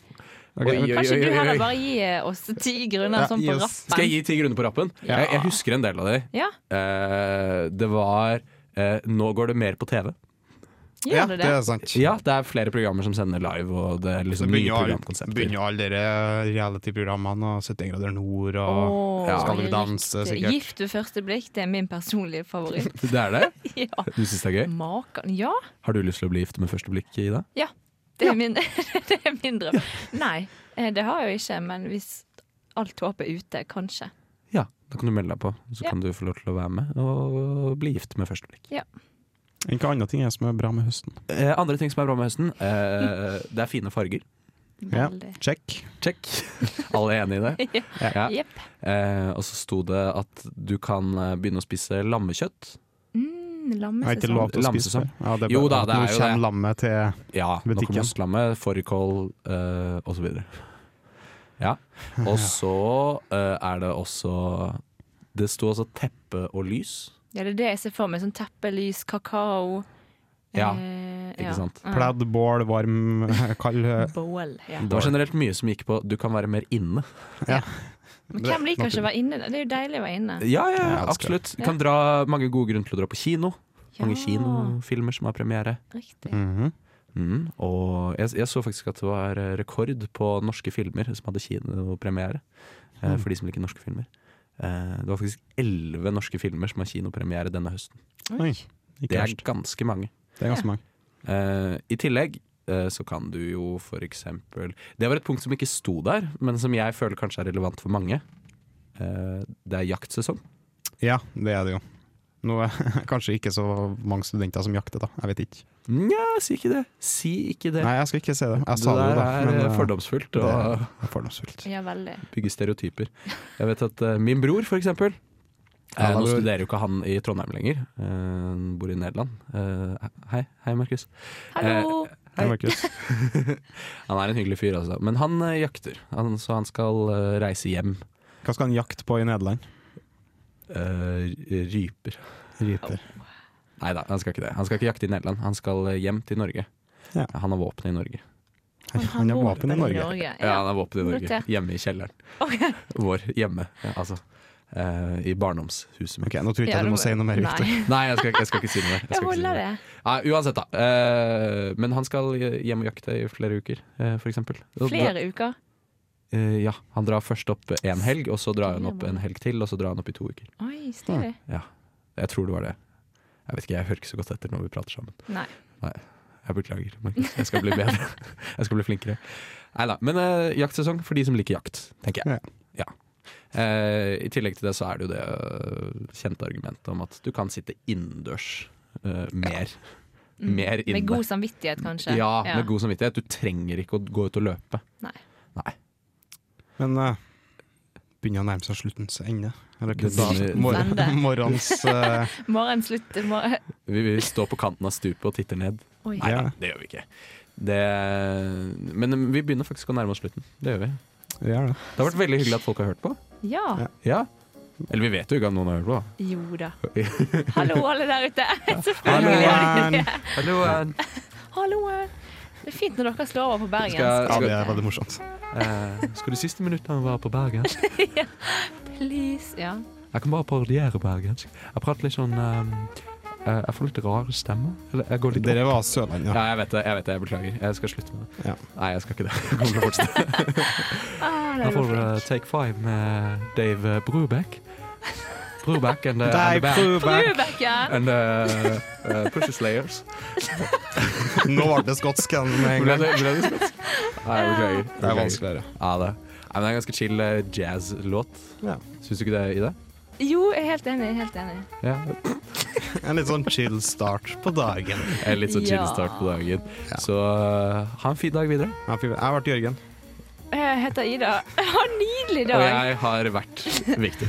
[SPEAKER 2] Oi,
[SPEAKER 7] Ok, men-
[SPEAKER 2] oi,
[SPEAKER 6] Kan ikke
[SPEAKER 2] oi,
[SPEAKER 6] du
[SPEAKER 2] oi,
[SPEAKER 6] heller
[SPEAKER 2] oi.
[SPEAKER 6] bare gi eh, oss ti grunner
[SPEAKER 7] Ja,
[SPEAKER 6] sånn
[SPEAKER 7] gi
[SPEAKER 6] på
[SPEAKER 7] oss-
[SPEAKER 6] rappen?
[SPEAKER 2] Skal jeg gi ti grunner på rappen?
[SPEAKER 7] Ja.
[SPEAKER 2] Jeg, jeg husker en del av de.
[SPEAKER 6] Ja,
[SPEAKER 2] Eh, det var eh, Nå går det mer på TV.
[SPEAKER 6] gjør
[SPEAKER 7] Ja,
[SPEAKER 6] du
[SPEAKER 7] det
[SPEAKER 6] det?
[SPEAKER 7] er sant.
[SPEAKER 2] Ja, det er flere programmer som sender live, og det er
[SPEAKER 7] Så
[SPEAKER 2] liksom nye
[SPEAKER 7] begynner jo alle- begynner
[SPEAKER 2] programkonsepter.
[SPEAKER 7] jo alle de reality-programmene og 70 grader nord og
[SPEAKER 6] Åh,
[SPEAKER 2] Ja.
[SPEAKER 7] Skal du
[SPEAKER 6] riktig.
[SPEAKER 7] danse, sikkert.
[SPEAKER 6] Gift ved første blikk, det er min personlige favoritt.
[SPEAKER 2] Det er det?
[SPEAKER 6] Ja.
[SPEAKER 2] Du syns det er gøy?
[SPEAKER 6] Maken. Ja,
[SPEAKER 2] Har du lyst til å bli gift med første blikk, Ida?
[SPEAKER 6] det er min, det er min drøm. Nei, eh, det har jeg jo ikke, men hvis alt håp er ute, kanskje.
[SPEAKER 2] Ja, da kan du melde deg på. Så
[SPEAKER 6] Ja.
[SPEAKER 2] kan du få lov til å være med og bli gift med første blikk.
[SPEAKER 7] Hvilke andre ting er det som er bra med høsten?
[SPEAKER 2] Eh, andre ting som er bra med høsten. Eh, det er fine farger.
[SPEAKER 7] Ja.
[SPEAKER 6] Veldig.
[SPEAKER 7] Check.
[SPEAKER 2] Check. Alle er enige i det? Ja.
[SPEAKER 6] Jepp.
[SPEAKER 2] Eh, og så sto det at du kan eh, begynne å spise lammekjøtt.
[SPEAKER 6] Mm. siden
[SPEAKER 7] Jeg har ikke
[SPEAKER 6] lammesesong.
[SPEAKER 7] lov til å spise
[SPEAKER 2] Lammesesong.
[SPEAKER 7] det. Ja, det er
[SPEAKER 2] Jo
[SPEAKER 7] bare
[SPEAKER 2] da,
[SPEAKER 7] at
[SPEAKER 2] det er
[SPEAKER 7] Nå
[SPEAKER 2] jo
[SPEAKER 7] kommer
[SPEAKER 2] det.
[SPEAKER 7] lammet til
[SPEAKER 2] Ja, noe
[SPEAKER 7] Butikken.
[SPEAKER 2] mosslamme, fårikål uh, osv. Ja. Og så eh, er det også Det sto også teppe og lys,
[SPEAKER 6] Ja, det er det jeg ser for meg. Sånn teppe, lys, kakao.
[SPEAKER 2] Ja,
[SPEAKER 6] eh,
[SPEAKER 2] ikke sant?
[SPEAKER 6] Ja.
[SPEAKER 7] Pledd, bål, varm, kald eh,
[SPEAKER 6] Bål. Ja.
[SPEAKER 2] Det var generelt mye som gikk på 'du kan være mer inne'.
[SPEAKER 6] Men hvem liker ikke å være inne? Det er jo deilig å være inne.
[SPEAKER 2] Ja, ja,
[SPEAKER 7] Jeg elsker
[SPEAKER 2] absolutt. Du kan dra mange gode grunner til å dra på kino. Mange kinofilmer som har premiere.
[SPEAKER 6] Riktig.
[SPEAKER 7] Mhm.
[SPEAKER 2] Mm, og jeg, jeg så faktisk at det var eh, rekord på norske filmer som hadde kinopremiere. eh, For de som liker norske filmer. Eh, det var faktisk elleve norske filmer som har kinopremiere denne høsten.
[SPEAKER 7] Oi,
[SPEAKER 2] Det
[SPEAKER 7] ikke
[SPEAKER 2] er
[SPEAKER 7] verst.
[SPEAKER 2] ganske mange.
[SPEAKER 7] Det er ganske mange.
[SPEAKER 2] Eh, I tillegg eh, så kan du jo for eksempel Det var et punkt som ikke sto der, men som jeg føler kanskje er relevant for mange. Eh, det er jaktsesong.
[SPEAKER 7] Ja, det er det jo. Nå er kanskje ikke så mange studenter som jakter, da. Jeg vet ikke.
[SPEAKER 2] Nja, si ikke det. Si ikke det.
[SPEAKER 7] Nei, jeg skal ikke si det.
[SPEAKER 2] det
[SPEAKER 7] Jeg sa det jo,
[SPEAKER 2] der
[SPEAKER 7] da.
[SPEAKER 2] er
[SPEAKER 7] men,
[SPEAKER 2] eh,
[SPEAKER 7] eh,
[SPEAKER 2] fordomsfullt
[SPEAKER 7] det
[SPEAKER 2] og
[SPEAKER 7] er fordomsfullt.
[SPEAKER 6] Ja, veldig.
[SPEAKER 2] bygge stereotyper. Jeg vet at eh, min bror, for eksempel eh,
[SPEAKER 7] Ja,
[SPEAKER 2] Nå
[SPEAKER 7] bror.
[SPEAKER 2] studerer jo ikke han i Trondheim lenger. Eh, Han bor i Nederland. Eh, hei, hei, Markus.
[SPEAKER 6] Hallo!
[SPEAKER 7] Ja, Markus.
[SPEAKER 2] Han er en hyggelig fyr, altså. Men han eh, jakter, han, så han skal eh, reise hjem.
[SPEAKER 7] Hva skal han jakte på i Nederland?
[SPEAKER 2] Eh, ryper.
[SPEAKER 7] Ryper.
[SPEAKER 2] Nei da, han skal ikke det. Han skal ikke jakte i Nederland, han skal eh, hjem til Norge.
[SPEAKER 7] Ja.
[SPEAKER 2] Han har våpen i Norge.
[SPEAKER 6] Men
[SPEAKER 7] Han har
[SPEAKER 6] bor
[SPEAKER 7] våpen i
[SPEAKER 6] vel
[SPEAKER 7] Norge.
[SPEAKER 2] Ja,
[SPEAKER 6] Ja.
[SPEAKER 2] han har våpen i Norge.
[SPEAKER 6] notert.
[SPEAKER 2] Hjemme i kjelleren.
[SPEAKER 6] Ok.
[SPEAKER 2] Vår. Hjemme, ja, altså. Eh, I barndomshuset mitt.
[SPEAKER 7] Ok, Nå tror jeg
[SPEAKER 6] Ja,
[SPEAKER 7] ikke
[SPEAKER 6] du
[SPEAKER 7] du må si noe mer, Victor.
[SPEAKER 6] Nei,
[SPEAKER 2] Nei, jeg skal, ikke- jeg skal ikke si noe mer. skal
[SPEAKER 6] jeg
[SPEAKER 2] ikke si noe
[SPEAKER 6] holder
[SPEAKER 2] mer.
[SPEAKER 6] det.
[SPEAKER 2] Nei, uansett, da. Eh, men han skal hjem og jakte i flere uker, eh, for eksempel. Og da-
[SPEAKER 6] Flere uker.
[SPEAKER 2] eh, ja, han drar først opp en helg, og så drar han opp en helg til, og så drar han opp i to uker.
[SPEAKER 6] Oi, stilig.
[SPEAKER 2] Jeg tror det var det. Jeg vet ikke, jeg hører ikke så godt etter når vi prater sammen.
[SPEAKER 6] Nei.
[SPEAKER 2] Jeg beklager, Markus. Jeg skal bli bedre. Jeg skal bli flinkere. Nei da. Men eh, jaktsesong for de som liker jakt, tenker jeg. Ja. Eh, I tillegg til det så er det jo det eh, kjente argumentet om at du kan sitte innendørs eh, mer. Mer inne.
[SPEAKER 6] Mm. Med god samvittighet, kanskje.
[SPEAKER 2] Ja, med god samvittighet. Du trenger ikke å gå ut og løpe.
[SPEAKER 7] Men eh, begynner å nærme seg sluttens ende. Eller
[SPEAKER 2] Det
[SPEAKER 7] ikke da,
[SPEAKER 2] begynner-
[SPEAKER 7] mor
[SPEAKER 6] Ende.
[SPEAKER 7] morgens eh,
[SPEAKER 6] Morgen slutt. Morgen.
[SPEAKER 2] Vi, vi står på kanten av stupet og titter ned.
[SPEAKER 6] Oi.
[SPEAKER 2] Nei,
[SPEAKER 7] Ja.
[SPEAKER 2] det gjør vi ikke. Det, men eh, vi begynner faktisk å nærme oss slutten. Det gjør vi.
[SPEAKER 7] Vi gjør det.
[SPEAKER 2] Det har vært veldig hyggelig at folk har hørt på.
[SPEAKER 6] Ja.
[SPEAKER 2] Ja. Eller vi vet jo ikke om noen har hørt på.
[SPEAKER 6] Jo da. Hallo, alle der ute.
[SPEAKER 2] Hallo,
[SPEAKER 7] Ann.
[SPEAKER 2] Hallo, eh, Ann.
[SPEAKER 6] Hallo. Det er fint når dere slår over på bergensk.
[SPEAKER 2] Skal-
[SPEAKER 7] Ja, det er veldig morsomt.
[SPEAKER 2] Eh, skal de siste minuttene være på bergensk?
[SPEAKER 6] Please. Ja.
[SPEAKER 2] Jeg kan bare parodiere bergensk. Jeg prater litt sånn eh, eh, Jeg får litt rare stemmer. Eller jeg går litt
[SPEAKER 7] Dere var Sørlandet.
[SPEAKER 2] Ja, jeg vet det. Jeg vet det, jeg beklager. Jeg skal slutte med det.
[SPEAKER 7] Ja.
[SPEAKER 2] Nei, jeg skal ikke det. Jeg kommer til å fortsette.
[SPEAKER 6] Ah, det
[SPEAKER 2] Her
[SPEAKER 6] er jo
[SPEAKER 2] får dere
[SPEAKER 6] flink.
[SPEAKER 2] Take Five med Dave eh, Brubeck. Brubeck and, the- and the
[SPEAKER 7] Dave
[SPEAKER 2] band.
[SPEAKER 7] Brubeck.
[SPEAKER 6] Brubecken.
[SPEAKER 2] And uh, uh, Pusher Slayers.
[SPEAKER 7] Nå ble det skotsk igjen med en
[SPEAKER 2] Ble
[SPEAKER 7] gang.
[SPEAKER 2] det, ble det skott? Nei, jeg beklager.
[SPEAKER 7] Det er vanskeligere.
[SPEAKER 2] Ja, det. Nei, men det er en ganske chill eh, jazz-låt.
[SPEAKER 7] Ja.
[SPEAKER 2] Syns du ikke det, Ida?
[SPEAKER 6] Jo, jeg er helt enig. Helt enig.
[SPEAKER 2] Ja.
[SPEAKER 7] En litt sånn chill start på dagen.
[SPEAKER 2] En litt sånn chill
[SPEAKER 6] Ja.
[SPEAKER 2] start på dagen. Så eh, ha en fin dag videre.
[SPEAKER 7] Ja, fy- Jeg ble Jørgen.
[SPEAKER 6] Jeg heter Ida. Ha en nydelig
[SPEAKER 2] Og
[SPEAKER 6] dag.
[SPEAKER 2] jeg har vært viktig.